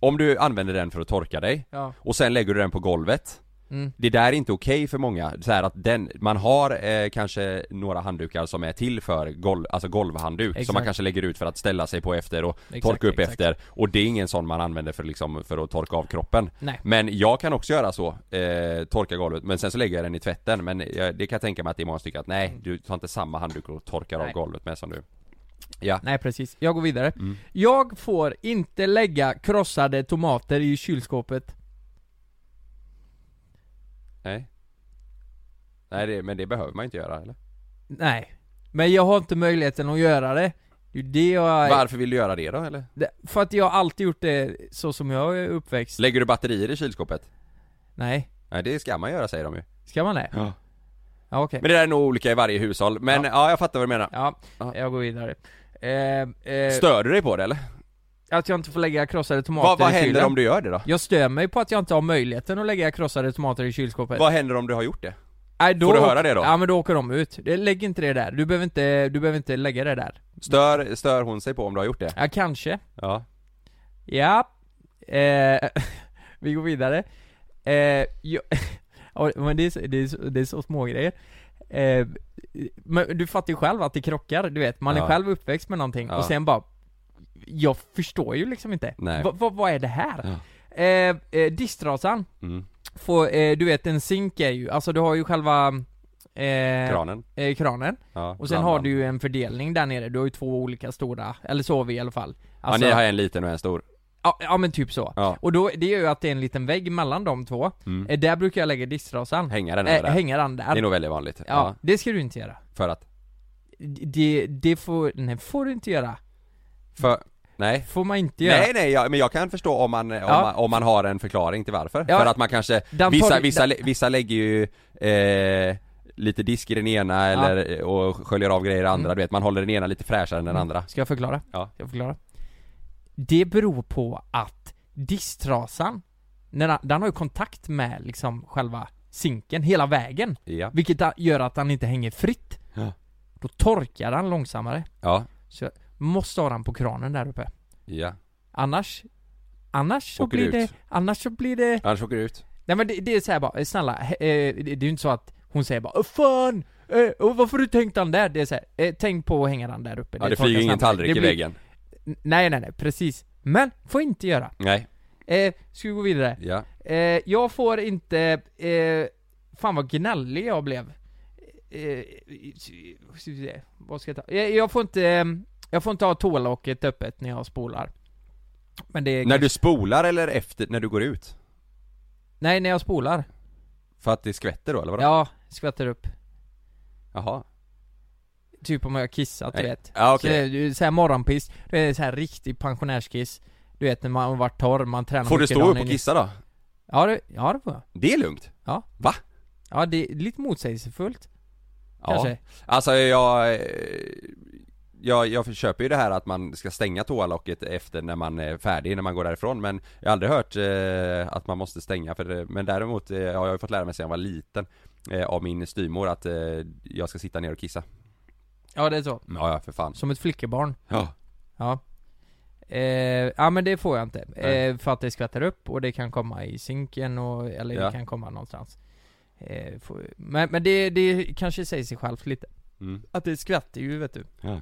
F: om du använder den för att torka dig
H: Ja.
F: och sen lägger du den på golvet
H: Mm.
F: Det där är inte okej för många, så här att den, man har eh, kanske några handdukar som är till för golv, alltså golvhandduk som man
H: Exakt.
F: kanske lägger ut för att ställa sig på efter och
H: Exakt,
F: torka upp
H: exakt.
F: efter och det är ingen sån man använder för, liksom, för att torka av kroppen
H: Nej.
F: Men jag kan också göra så, eh, torka golvet men sen så lägger jag den i tvätten men eh, jag, det kan jag tänka mig att det är många som tycker att nej du tar inte samma handduk och torkar av
H: Mm. Nej.
F: golvet med som du Ja,
H: Nej precis, jag går vidare.
F: Mm.
H: Jag får inte lägga krossade tomater i kylskåpet.
F: nej Nej det, men det behöver man ju inte göra eller?
H: Nej. Men jag har inte möjligheten att göra det. Det är ju det jag...
F: Varför vill du göra det då eller?
H: Det- För att jag har alltid gjort det så som jag är uppväxt.
F: Lägger du batterier i kylskåpet?
H: Nej.
F: Nej det ska man göra säger de ju
H: Ska man det?
F: Ja.
H: Ja okej.
F: Men det där är nog olika i varje hushåll, men ja, jag fattar vad du menar
H: Ja, jag går vidare. Eh, eh,
F: Stör du dig på det eller?
H: Att jag inte får lägga krossade tomater
F: Vad, vad
H: i
F: händer
H: kylen.
F: om du gör det då?
H: Jag stör mig på att jag inte har möjligheten att lägga krossade tomater i kylskåpet.
F: Vad händer om du har gjort det?
H: Nej, då
F: Får du höra det då?
H: Ja men då åker de ut. Det- Lägg inte det där. Du behöver inte, du behöver inte lägga det där.
F: Stör, stör hon sig på om du har gjort det?
H: Ja, kanske.
F: Ja.
H: Ja. Eh, [laughs] vi går vidare. Eh, jo, [laughs] ja, men det är, så- det, är, så- det är så små grejer. Eh, men du fattar ju själv att det krockar, du vet. Man
F: Ja.
H: är själv uppväxt med någonting
F: Ja.
H: och sen bara Jag förstår ju liksom inte.
F: Nej.
H: Va, va, vad är det här? Eh, eh, disktrasan.
F: Mm.
H: Får, eh, du vet en zink är ju, alltså du har ju själva eh,
F: Kranen.
H: eh, kranen.
F: Ja,
H: och sen
F: blandan.
H: har du ju en fördelning där nere, du har ju två olika stora, eller så har vi i alla fall. Alltså-
F: ja, ni har en liten och en stor.
H: Ja, ja men typ så.
F: Ja.
H: Och då, det gör ju att det är en liten vägg mellan de två.
F: Mm.
H: Eh, Där brukar jag lägga disktrasan.
F: Hänga den
H: Eh,
F: där.
H: hänga den där.
F: Det är nog väldigt vanligt.
H: Ja, det ska du inte göra.
F: För att?
H: Det, det får, nej, får du inte göra.
F: För, nej.
H: Får man inte göra.
F: Nej nej, jag, men jag kan förstå om man, om,
H: Ja.
F: man, om man har en förklaring till varför.
H: Ja.
F: För att man kanske,
H: Den
F: vissa,
H: tar-
F: vissa,
H: den-
F: vissa lägger ju eh, lite disk i den ena eller, eh, och sköljer av grejer i den andra,
H: Mm.
F: du vet man håller den ena lite fräschare än den
H: Mm.
F: andra.
H: Ska jag förklara?
F: Ja.
H: Ska jag förklara? Det beror på att disktrasan, när den, den har ju kontakt med liksom själva sinken hela vägen.
F: Ja.
H: Vilket da- gör att den inte hänger fritt.
F: Ja.
H: Då torkar den långsammare.
F: Ja.
H: Så jag måste ha den på kranen där uppe.
F: Ja.
H: Annars, annars så
F: Åker
H: blir
F: ut.
H: det, annars så blir det
F: Annars åker du ut.
H: Nej men det, det är såhär bara, snälla, eh, det det är ju inte så att hon säger bara "Åh, fan, eh, och varför har du tänkt den där? Det är såhär, eh, tänk på att hänga den där uppe
F: Ja, det
H: torkar
F: flyger ingen
H: snabbt.
F: tallrik
H: Det
F: i
H: blir-
F: väggen.
H: N- Nej nej nej, precis. Men, får inte göra.
F: Nej.
H: Eh, ska vi gå vidare?
F: Ja.
H: Eh, jag får inte, eh, fan vad gnällig jag blev. Eh, vad ska jag ta? Jag, jag får inte, eh, jag får inte ha tålocket öppet när jag spolar. Men det är
F: När du spolar eller efter, när du går ut?
H: Nej, när jag spolar.
F: För att det skvätter då eller vadå?
H: Ja, skvätter upp.
F: Jaha.
H: Typ om jag har kissat, du
F: Nej.
H: vet.
F: Ja, okej.
H: Så det är ju så här morgonpiss, det är så här riktig pensionärskiss. Du vet när man har varit torr, man tränar
F: Får du
H: mycket
F: stå
H: dagen
F: upp och
H: in-
F: kissa då?
H: Ja, det, ja, det får jag.
F: Det är lugnt.
H: Ja.
F: Va?
H: Ja, det är lite motsägelsefullt.
F: Ja.
H: Kanske.
F: Alltså jag, eh, jag, jag köper ju det här att man ska stänga toalocket efter när man är färdig, när man går därifrån men jag har aldrig hört eh, att man måste stänga för det, men däremot eh, har jag ju fått lära mig sedan jag var liten eh, av min styvmor att eh, jag ska sitta ner och kissa. Mm,
H: Ja, det är så.
F: Ja, ja för fan.
H: Som ett flickebarn.
F: Ja.
H: Ja. Eh, ja men det får jag inte.
F: Nej.
H: Eh, för att det skvätter upp och det kan komma i sinken och, eller
F: Ja.
H: det kan komma någonstans. Eh, får, men men det, det kanske säger sig självt lite.
F: Mm.
H: Att det skvätter ju vet du.
F: Ja.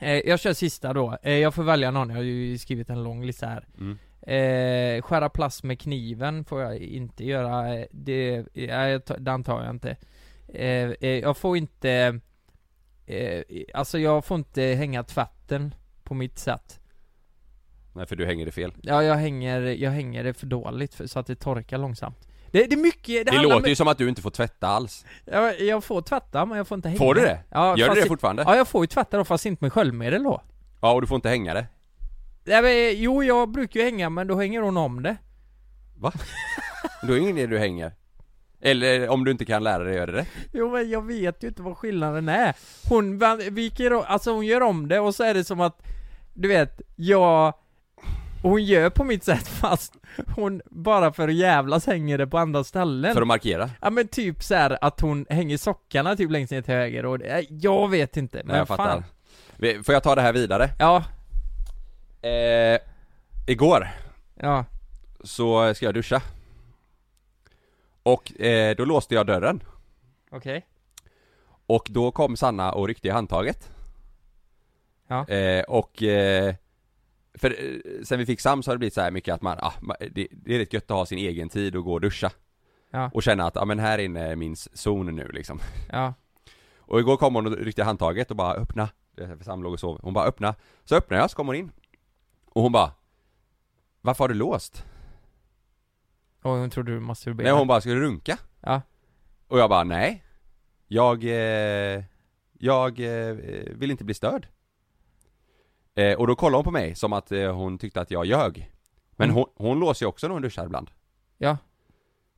H: Eh, jag kör sista då. Eh, jag får välja någon, jag har ju skrivit en lång lista här.
F: Mm.
H: Eh, skära plast med kniven får jag inte göra. Eh, Det, eh, jag tar- den tar jag inte. Eh, eh, jag får inte... Eh, alltså jag får inte hänga tvätten på mitt sätt.
F: Nej för du hänger det fel.
H: Ja, jag hänger, jag hänger det för dåligt för, så att det torkar långsamt. Det, det är mycket, det,
F: Det
H: handlar
F: låter ju som att du inte får tvätta alls.
H: jag, jag får tvätta men jag får inte hänga.
F: Får du det?
H: Ja,
F: Gör du
H: fast
F: det
H: i-
F: fortfarande?
H: Ja, jag får ju tvätta då fast inte med sköljmedel då.
F: Ja och du får inte hänga det.
H: Nej, men, jo, jag brukar ju hänga men då hänger hon om det.
F: Va? [laughs] Då är det ingen idé du hänger. Eller om du inte kan lära dig att göra det rätt.
H: Jo men jag vet ju inte vad skillnaden är. Hon vän- viker om, alltså hon gör om det och så är det som att, du vet, jag... Hon gör på mitt sätt [laughs] fast hon bara för att jävlas hänger det på andra ställen.
F: För att markera.
H: Ja men typ så här att hon hänger sockarna typ längst ner till höger och det, jag vet inte, men
F: Nej, jag
H: fan.
F: fattar. Vi- Får jag ta det här vidare?
H: Ja.
F: Eh, igår
H: Ja.
F: så eh, ska jag duscha. Och eh, då låste jag dörren.
H: Okej.
F: Och då kom Sanna och ryckte i handtaget.
H: Ja.
F: Eh, och eh, för eh, sen vi fick Sam så har det blivit så här mycket att man, ah, ma- det, det är rätt gött att ha sin egen tid och gå och duscha.
H: Ja.
F: Och känna att, ja ah, men här inne är min zon nu liksom. [laughs]
H: Ja.
F: Och igår kom hon och ryckte i handtaget och bara öppna. Det är För Sam låg och sov. Hon bara öppna. Så öppnade jag så kom hon in. Och hon bara Varför har du låst?
H: Oj, hon trodde du masturberade.
F: Nej hon bara, ska du runka?
H: Ja.
F: Och jag bara, nej Jag, eh, jag eh, vill inte bli störd eh, Och då kollade hon på mig som att eh, hon tyckte att jag ljög Men
H: Mm.
F: hon, hon låser ju också när hon duschar ibland
H: Ja.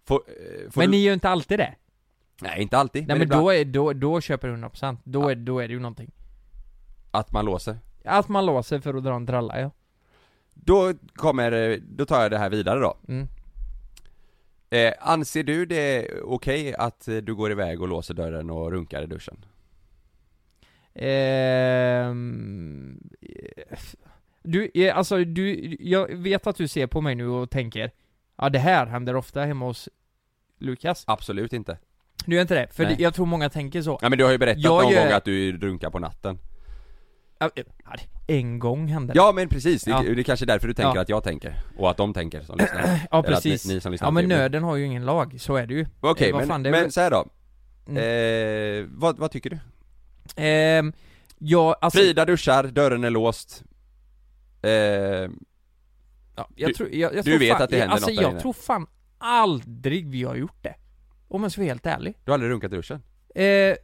F: får, eh, får
H: Men
F: du...
H: ni gör ju inte alltid det.
F: Nej inte alltid,
H: Nej men,
F: ibland
H: då, är, då, då köper du 100%. Då, är, då är det ju någonting.
F: att man låser
H: Att man låser för att dra en tralla ja.
F: Då kommer, eh, då tar jag det här vidare då
H: Mm.
F: Eh, anser du det okej att eh, du går iväg och låser dörren och runkar i duschen?
H: Ehm, eh, du, eh, alltså du, jag vet att du ser på mig nu och tänker Ja det här händer ofta hemma hos Lukas
F: Absolut inte.
H: Du är inte det? För
F: Nej.
H: det, jag tror många tänker så
F: Ja men du har ju berättat
H: Jag
F: någon
H: gör-
F: gång att du runkar på natten.
H: Ja, eh, ja, det- En gång hände det
F: Ja men precis, det,
H: Ja.
F: det är kanske är därför du tänker
H: Ja. Eh,
F: att jag tänker. Och att de tänker som lyssnar.
H: Ja
F: Eller att
H: precis,
F: Ni, ni som lyssnar
H: ja men
F: till mig.
H: nöden har ju ingen lag, så är det ju
F: Okej
H: Eh, vad fan,
F: men,
H: det är väl- Mm.
F: men så här då. Eh, vad, vad tycker du?
H: Ehm, ja, alltså,
F: Frida duschar, dörren är låst. Eh,
H: jag
F: du,
H: tror, jag, jag
F: du
H: tror
F: vet
H: fan,
F: att det händer
H: alltså,
F: något där
H: jag
F: inne.
H: tror fan aldrig vi har gjort det Om jag ska vara helt ärlig
F: Du har aldrig runkat i duschen?
H: Eh,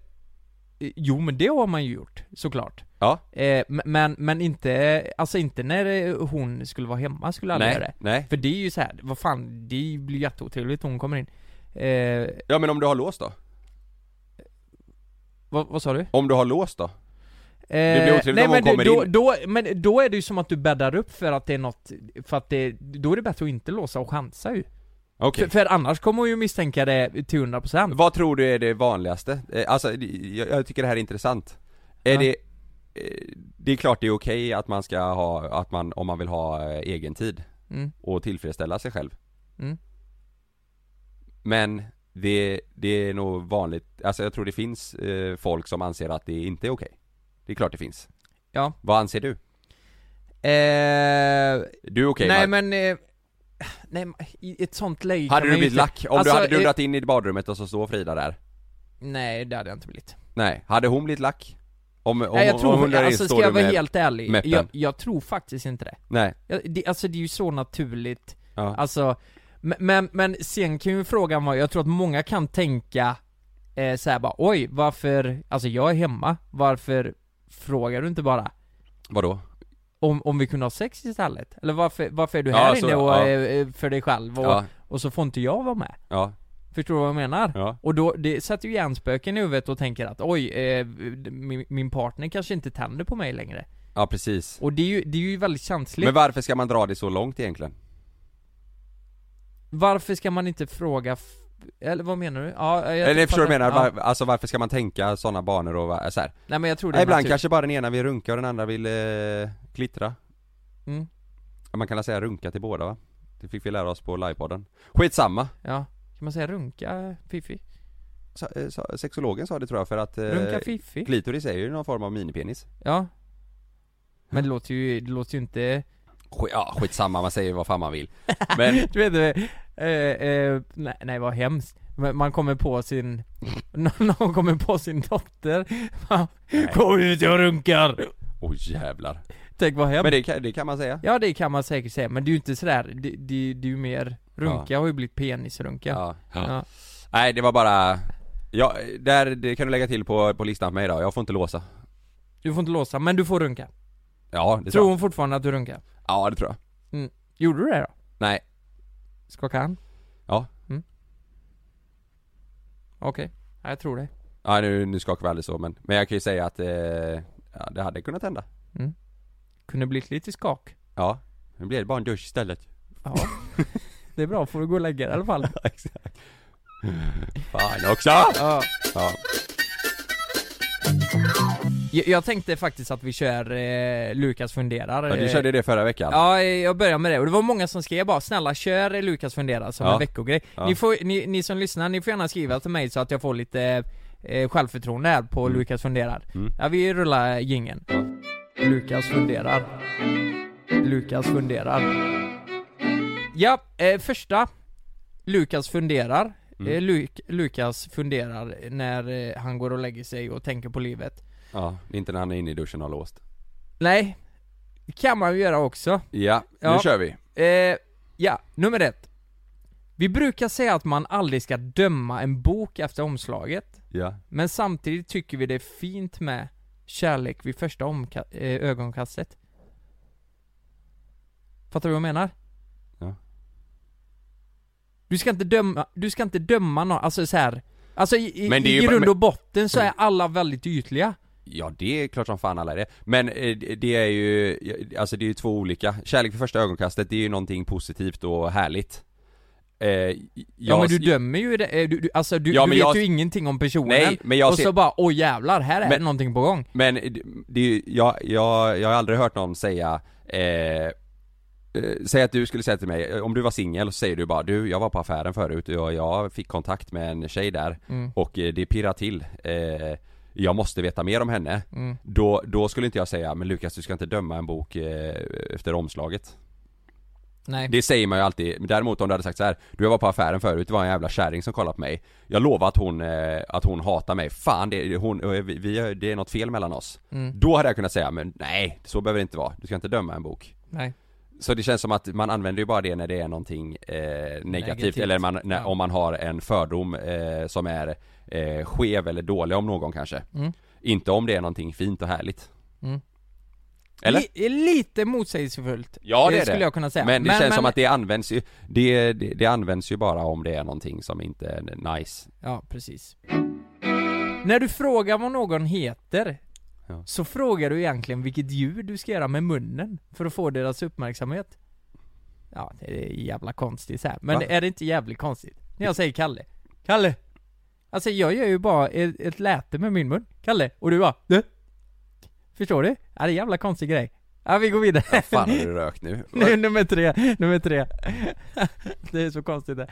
H: jo men det har man ju gjort, såklart.
F: Ja.
H: Eh, m- men, men inte, alltså inte när eh, hon skulle vara hemma skulle jag aldrig
F: Nej,
H: göra det.
F: nej.
H: För det är ju så här, vad fan, det blir ju jätteotrevligt om hon kommer in. Eh,
F: Ja men om du har låst då?
H: vad, vad sa du? Eh,
F: Om du har låst då? det blir otrevligt
H: nej,
F: om hon
H: men
F: kommer
H: då,
F: in.
H: Då, men då är det ju som att du bäddar upp för att det är något, för att det, då är det bättre att inte låsa och chansa ju.
F: Okej.
H: För, för annars kommer hon ju misstänka det till 100%.
F: Vad tror du är det vanligaste? Eh, Alltså, jag, jag tycker det här är intressant. Är
H: Ja.
F: det, eh, det är klart det är okej att man ska ha, att man, om man vill ha eh, egen tid
H: Mm.
F: och tillfredsställa sig själv.
H: Mm.
F: Men det, det är nog vanligt, alltså jag tror det finns eh, folk som anser att det inte är okej. Det är klart det finns.
H: Ja.
F: Vad anser du?
H: Eh,
F: Du är okej
H: Nej
F: Mark.
H: men, eh, nej men i ett sånt läge kan
F: Hade du
H: man ju
F: blivit
H: inte-
F: lack? Om
H: Alltså,
F: du hade
H: eh,
F: dundrat in i badrummet och så står Frida där?
H: Nej det hade jag inte blivit
F: Nej, hade hon blivit lack? Om, om,
H: Nej jag
F: om
H: tror,
F: hon där inne
H: alltså
F: står
H: ska jag
F: du
H: vara
F: med
H: helt ärlig,
F: meppen?
H: jag, jag tror faktiskt inte det
F: Nej.
H: jag, det, Alltså det är ju så naturligt,
F: Ja.
H: alltså men, men, men sen kan ju frågan vara, jag tror att många kan tänka eh, så här bara oj varför, alltså jag är hemma, varför frågar du inte bara?
F: Vadå?
H: Om, om vi kunde ha sex istället? Eller varför, varför är du
F: Ja,
H: här
F: så-
H: inne och
F: ja.
H: eh, för dig själv och,
F: Ja.
H: och så får inte jag vara med?
F: Ja.
H: Förstår du vad jag menar?
F: Ja.
H: Och då, det sätter ju hjärnspöken i huvudet och tänker att oj, eh, min, min partner kanske inte tänder på mig längre
F: Ja precis.
H: Och det är ju, det är ju väldigt känsligt
F: Men varför ska man dra det så långt egentligen?
H: Varför ska man inte fråga, f- eller vad menar du? Ja, jag typ
F: Eller förstår du vad jag menar?
H: Ja.
F: Var, alltså varför ska man tänka sådana banor och va- så här?
H: Nej men jag tror det
F: Nej,
H: är typ-
F: ibland
H: natur-
F: kanske bara den ena vill runka och den andra vill eh, klittra.
H: Mm.
F: Ja, Man kan väl säga runka till båda va? Det fick vi lära oss på livepodden. Skitsamma.
H: Ja, kan man säga runka fiffi?
F: Sa- eh, sa- Sexologen sa det tror jag för att eh,
H: Runka fiffi?
F: klitoris är ju någon form av minipenis.
H: Ja Men det låter ju, det låter ju inte
F: Sk- ja skitsamma, man säger vad fan man vill.
H: [laughs]
F: Men
H: Du vet, eh, eh, nej, nej vad hemskt Men man kommer på sin, [laughs] någon kommer på sin dotter Kom ut, jag runkar!
F: Oj jävlar.
H: Tänk vad hemskt
F: Men det kan, det kan man säga.
H: Ja det kan man säkert säga, men det är ju inte sådär, det, det, det är ju mer Runka har ju blivit penisrunka
F: Ja. Nej det var bara, ja, där, det kan du lägga till på, på listan för mig då. Jag får inte låsa.
H: Du får inte låsa, men du får runka
F: Ja det tror
H: Tror
F: jag.
H: hon fortfarande att du runkar?
F: Ja det tror jag.
H: Mm. Gjorde du det då?
F: Nej.
H: Skakade han?
F: Ja.
H: Mm. Okej, ja, jag tror det
F: Ja nu, nu skakar vi aldrig så men, men jag kan ju säga att eh, ja, det hade kunnat hända
H: Kunde blivit lite skak
F: Ja, nu blev det bara en dusch istället [laughs]
H: Ja Det är bra, får du gå och lägga dig i alla fall Exakt
F: Fan också!
H: Ja.
F: ja.
H: jag, jag tänkte faktiskt att vi kör eh, Lukas funderar
F: Ja, du
H: eh,
F: körde det förra veckan?
H: Ja, jag började med det och det var många som skrev bara 'Snälla kör Lukas funderar' som
F: Ja.
H: en veckogrej
F: Ja.
H: ni, får, ni, ni som lyssnar, ni får gärna skriva till mig så att jag får lite eh, självförtroende här på Lukas funderar
F: Mm.
H: Ja vi rullar gingen Lukas funderar Lukas funderar Ja, eh, första Lukas funderar
F: Mm.
H: eh, Luk- Lukas funderar när eh, han går och lägger sig och tänker på livet
F: Ja, inte när han är inne i duschen och har låst
H: Nej, det kan man ju göra också
F: Ja, nu
H: Ja.
F: kör vi!
H: Eh, ja, nummer ett. Vi brukar säga att man aldrig ska döma en bok efter omslaget,
F: Ja,
H: men samtidigt tycker vi det är fint med kärlek vid första omka- eh, ögonkastet. Fattar du vad jag menar?
F: Ja.
H: Du ska inte döma, du ska inte döma någon, alltså så här. Alltså i,
F: Men det är
H: i, i
F: ju-
H: grund och
F: men- Mm.
H: botten så är alla väldigt ytliga.
F: ja det är klart som fan alla är det Men eh, det är ju, alltså det är ju två olika Kärlek för första ögonkastet, det är ju någonting positivt och härligt Eh, jag,
H: Ja men du dömer ju det, eh, du, du, alltså du,
F: Ja,
H: du
F: men
H: vet
F: jag-
H: ju ingenting om personen,
F: Nej, men jag
H: och
F: ser-
H: så bara åh jävlar, här är
F: Men-
H: det någonting på gång.
F: Men det- det, är ju- jag, jag, jag har aldrig hört någon säga eh, eh, Säg att du skulle säga till mig, eh, om du var singel så säger du bara du, jag var på affären förut och jag fick kontakt med en tjej där
L: Mm.
F: och eh, det pirrar till eh, Jag måste veta mer om henne
L: Mm.
F: då, då skulle inte jag säga, men Lukas du ska inte döma en bok eh, efter omslaget
H: Nej.
F: Det säger man ju alltid, Men däremot om du hade sagt så här, du jag var på affären förut, det var en jävla kärring som kollade på mig Jag lovar att hon, eh, att hon hatar mig, fan det, hon, eh, vi, vi, det är något fel mellan oss
H: Mm.
F: Då hade jag kunnat säga, men nej så behöver det inte vara, du ska inte döma en bok
H: Nej.
F: Så det känns som att man använder ju bara det när det är någonting eh, negativt,
H: Negativt.
F: eller man, när, om man har en fördom eh, som är eh, skev eller dålig om någon kanske
H: Mm.
F: Inte om det är någonting fint och härligt
H: Mm.
F: Eller?
H: Li- lite motsägelsefullt.
F: Ja det, är
H: skulle
F: det.
H: jag kunna säga.
F: Men det känns som att det används ju, det, det, det används ju bara om det är någonting som inte är nice.
H: Ja, precis. När du frågar vad någon heter, så frågar du egentligen vilket ljud du ska göra med munnen för att få deras uppmärksamhet. Ja, det är jävla konstigt så här. Men
M: Va?
H: är det inte jävligt konstigt? När jag säger Kalle. Kalle! Alltså jag gör ju bara ett, ett läte med min mun. Kalle! Och du bara du. Förstår du? Ja, det är en jävla konstig grej. Ja, vi går vidare. Vad
F: fan har
H: [laughs]
F: du rökt nu?
H: nu nummer tre, nummer tre. det är så konstigt det.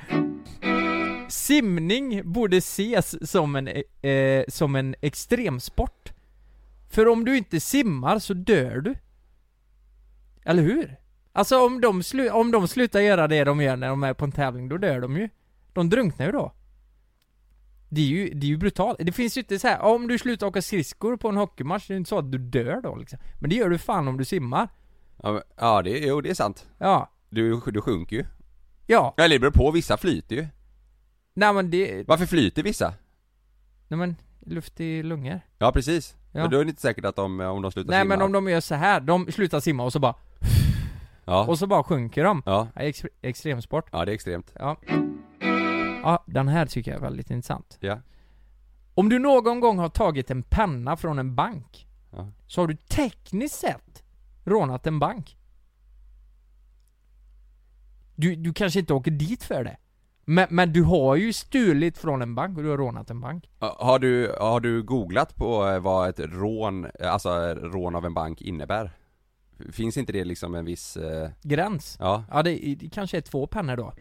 H: Simning borde ses som en, eh, eh, som en extremsport. För om du inte simmar så dör du. Eller hur? Alltså om de, slu- om de slutar göra det de gör när de är på en tävling, då dör de ju. De drunknar ju då. Det är ju, det är ju brutalt. Det finns ju inte så här, om du slutar åka skridskor på en hockeymatch, det är ju inte så att du dör då liksom. Men det gör du fan om du simmar.
F: Ja, men, ja det, jo det är sant.
H: Ja.
F: Du, du sjunker ju.
H: Ja.
F: Eller det beror på, vissa flyter ju.
H: Nej men det,
F: Varför flyter vissa?
H: nej men, luft i lungor.
F: Ja precis.
H: Ja.
F: Men då är det inte säkert att de, om de slutar
H: Nej
F: simma.
H: men om de gör så här, de slutar simma och så bara
F: Ja.
H: Och så bara sjunker de.
F: Ja.
H: Det är ex- extremsport.
F: Ja det är extremt.
H: Ja. Ja, den här tycker jag är väldigt intressant.
F: Ja.
H: Om du någon gång har tagit en penna från en bank,
F: Ja.
H: så har du tekniskt sett rånat en bank. Du, du kanske inte åker dit för det. Men, men du har ju stulit från en bank och du har rånat en bank.
F: Ja, Har du, har du googlat på eh, vad ett rån, eh, alltså eh, rån av en bank innebär? Finns inte det liksom en viss... Eh...
H: Gräns?
F: Ja.
H: Ja, det, det kanske är två pennor då.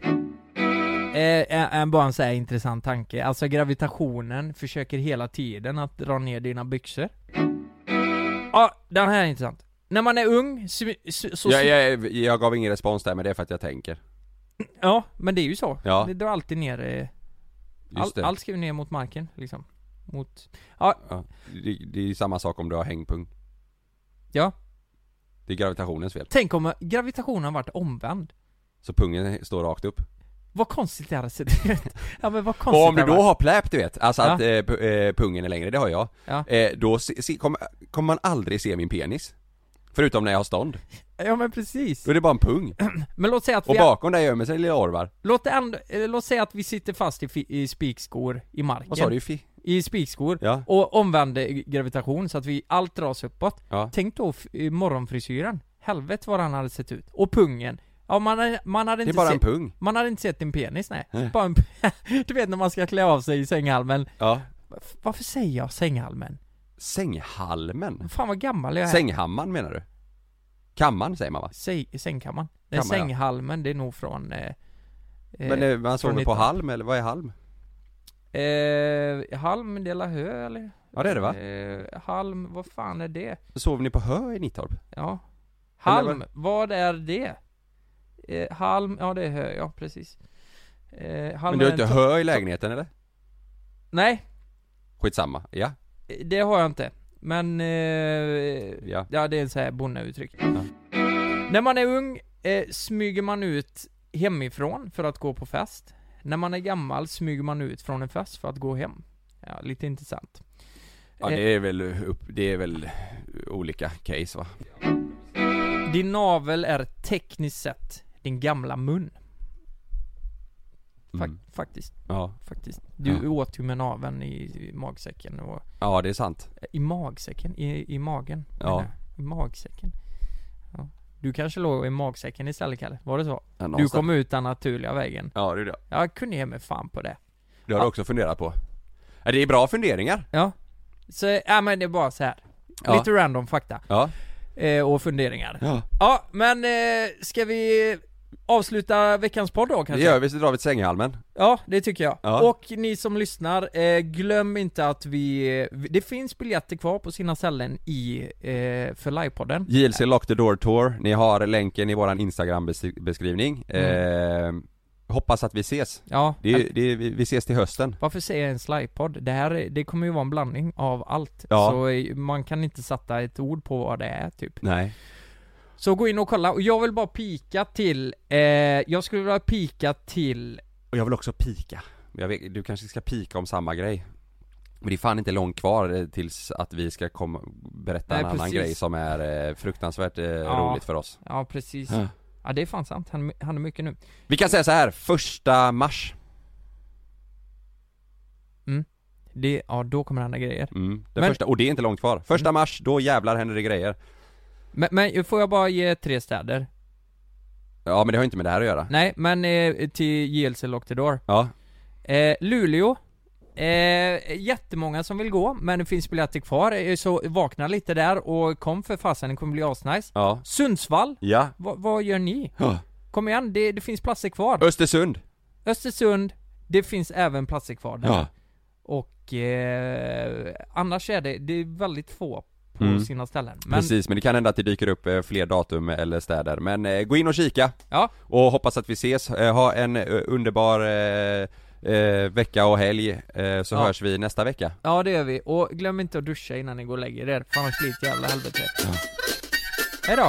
H: Eh, en- en, bara en så här intressant tanke. Alltså gravitationen försöker hela tiden att dra ner dina byxor. Ja, den här är intressant. När man är ung, sm- s- så...
F: jag, jag, jag gav ingen respons där men det är för att jag tänker.
H: Ja, men det är ju så.
F: Ja.
H: Det drar alltid ner... eh,
F: Just
H: All,
F: det.
H: allt ska ju ner mot marken, liksom. Mot... Ja,
F: Ja. Det, det är ju samma sak om du har hängpung.
H: Ja.
F: Det är gravitationens fel.
H: tänk om gravitationen har varit omvänd.
F: Så pungen står rakt upp.
H: Vad konstigt det hade sett ut. [laughs] Ja men vad konstigt
F: Och om
H: det
F: du
H: hade
F: då
H: varit.
F: har pläp du vet, alltså
H: Ja.
F: att eh, pu- eh, pungen är längre, det har jag.
H: Ja.
F: Eh, då se, se, kommer kommer man aldrig se min penis. Förutom när jag har stånd.
H: Ja men precis.
F: Då är det bara en pung.
H: Men låt säga att
F: Och
H: vi... har-
F: bakom där gömmer sig lilla Orvar.
H: Låt, det ändå, eh, låt säga att vi sitter fast i, fi- i spikskor i marken.
F: Vad sa du, fi-
H: I spikskor.
F: Ja.
H: Och omvänd eh, gravitation så att vi, allt dras uppåt.
F: Ja.
H: Tänk då f- i morgonfrisyren. Helvete vad han hade sett ut. Och pungen. Ja man, hade- man hade
F: Det är
H: inte
F: bara en
H: sett,
F: pung.
H: Man hade inte sett din penis nej.
F: Nej.
H: Bara en, [laughs] du vet när man ska klä av sig i sänghalmen.
F: Ja.
H: Varför säger jag sänghalmen?
F: Sänghalmen?
H: Fan vad gammal jag är.
F: Sänghammaren menar du? Kamman säger man va?
H: Säg, sängkammaren. Nej,
F: Kammaren, ja.
H: sänghalmen det är nog från... Eh,
F: Men eh, man sover på halm eller vad är halm?
H: Eh, halm delar hö eller?
F: Ja, det är det, va?
H: Eh, halm, vad fan är det?
F: Sover ni på hö i Nittorp?
H: Ja
F: Eller
H: Halm,
F: vad-
H: vad är det? Eh, halm, ja det är hö, ja precis eh,
F: Men
H: halm
F: du
H: är
F: har inte
H: en to-
F: hö i lägenheten eller?
H: Nej,
F: Skitsamma, ja.
H: eh, det har jag inte Men, eh,
F: Ja.
H: ja. det är så här bonneuttryck När man är ung eh, smyger man ut hemifrån för att gå på fest När man är gammal smyger man ut från en fest för att gå hem Ja, lite intressant
F: Ja
H: Eh,
F: det är väl, upp, det är väl olika case va?
H: Din navel är tekniskt sett din gamla mun. Fak-
F: Mm.
H: Faktiskt.
F: Ja.
H: Faktiskt. Du åt ju med naveln i, i magsäcken och... eh,
F: Ja det är sant.
H: I magsäcken? I, i magen?
F: Ja.
H: menar jag. I magsäcken. Ja. Du kanske låg i magsäcken istället Kalle? Var det så?
F: Ja,
H: du
F: någonstans.
H: kom ut den naturliga vägen?
F: Ja, det gjorde jag.
H: Jag kunde ge mig fan på det.
F: Det har du också funderat på. Ja, det är bra funderingar.
H: Ja. Så, ja men det är bara så här.
F: Ja.
H: Lite random fakta.
F: Ja.
H: Eh, och funderingar.
F: Ja.
H: Ja, men eh, ska vi avsluta veckans podd då
F: Det
H: kanske?
F: gör vi, så drar vi till sänghalmen.
H: Ja, det tycker jag.
F: Ja.
H: Och ni som lyssnar, eh, glöm inte att vi, det finns biljetter kvar på sina ställen i, eh, för livepodden.
F: JLC Lock the Door Tour, ni har länken i våran Instagram-beskrivning. Eh, hoppas att vi ses.
H: Ja.
F: Det är, det är, vi vi ses till hösten.
H: Varför säger jag ens livepodd? Det här, är- det kommer ju vara en blandning av allt.
F: Ja.
H: Så eh, man kan inte sätta ett ord på vad det är typ.
F: Nej.
H: Så gå in och kolla, och jag vill bara pika till, eh, jag skulle vilja pika till
F: Och jag vill också pika. Jag vet, du kanske ska pika om samma grej. Men det är fan inte långt kvar eh, tills att vi ska komma, berätta
H: Nej,
F: en annan
H: precis.
F: grej som är eh, fruktansvärt eh, roligt för oss.
H: Ja precis.
F: Ja.
H: Ja det är fan sant, han, han är mycket nu.
F: Vi kan säga så här, första mars.
H: Det, ja då kommer det hända grejer.
F: Mm, den
H: Men-
F: första, och det är inte långt kvar. Första mars, då jävlar händer det grejer.
H: Men, men får jag bara ge tre städer?
F: Ja men det har ju inte med det här att göra.
H: Nej, men eh, till JLC Lock the Door.
F: Ja.
H: Eh, Luleå. Eh, jättemånga som vill gå, men det finns biljetter kvar, eh, så vakna lite där och kom för fasen, det kommer bli asnice.
F: Ja.
H: Sundsvall.
F: Ja.
H: Va, vad gör ni?
F: Ja.
H: Kom igen, det, det finns platser kvar.
F: Östersund.
H: Östersund, det finns även platser kvar där.
F: Ja.
H: Och eh, annars är det, det är väldigt få på
F: Mm.
H: sina ställen.
F: Precis, men det kan hända att det dyker upp eh, fler datum eller städer. Men eh, gå in och kika.
H: Ja.
F: Och hoppas att vi ses. Eh, ha en eh, underbar eh, eh, vecka och helg. Eh, så
H: Ja.
F: hörs vi nästa vecka.
H: Ja det gör vi, och glöm inte att duscha innan ni går och lägger er, för annars blir det ett jävla helvete ja. Hejdå!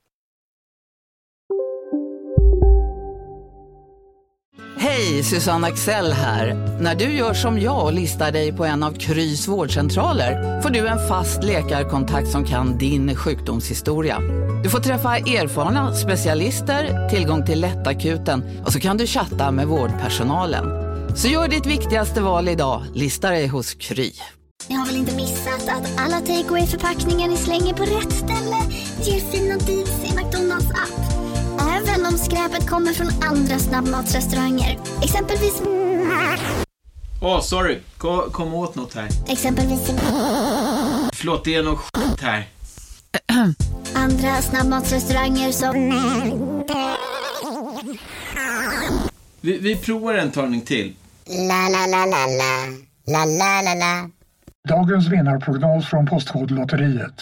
M: Hej, Susanne Axel här. När du gör som jag och listar dig på en av Krys vårdcentraler får du en fast läkarkontakt som kan din sjukdomshistoria. Du får träffa erfarna specialister, tillgång till lättakuten och så kan du chatta med vårdpersonalen. Så gör ditt viktigaste val idag, lista dig hos Kry.
N: Ni har väl inte missat att alla takeaway förpackningar ni slänger på rätt ställe ger fina deals i McDonalds app. Även om skräpet kommer från andra snabbmatsrestauranger. Exempelvis...
O: Åh, sorry. Kom, kom åt något här.
N: Exempelvis...
O: Förlåt, det är något skit här.
N: Andra snabbmatsrestauranger som...
O: Vi, vi provar en talning till.
N: La, la, la, la, la. La, la, la, la.
P: Dagens vinnarprognos från Postkodlotteriet.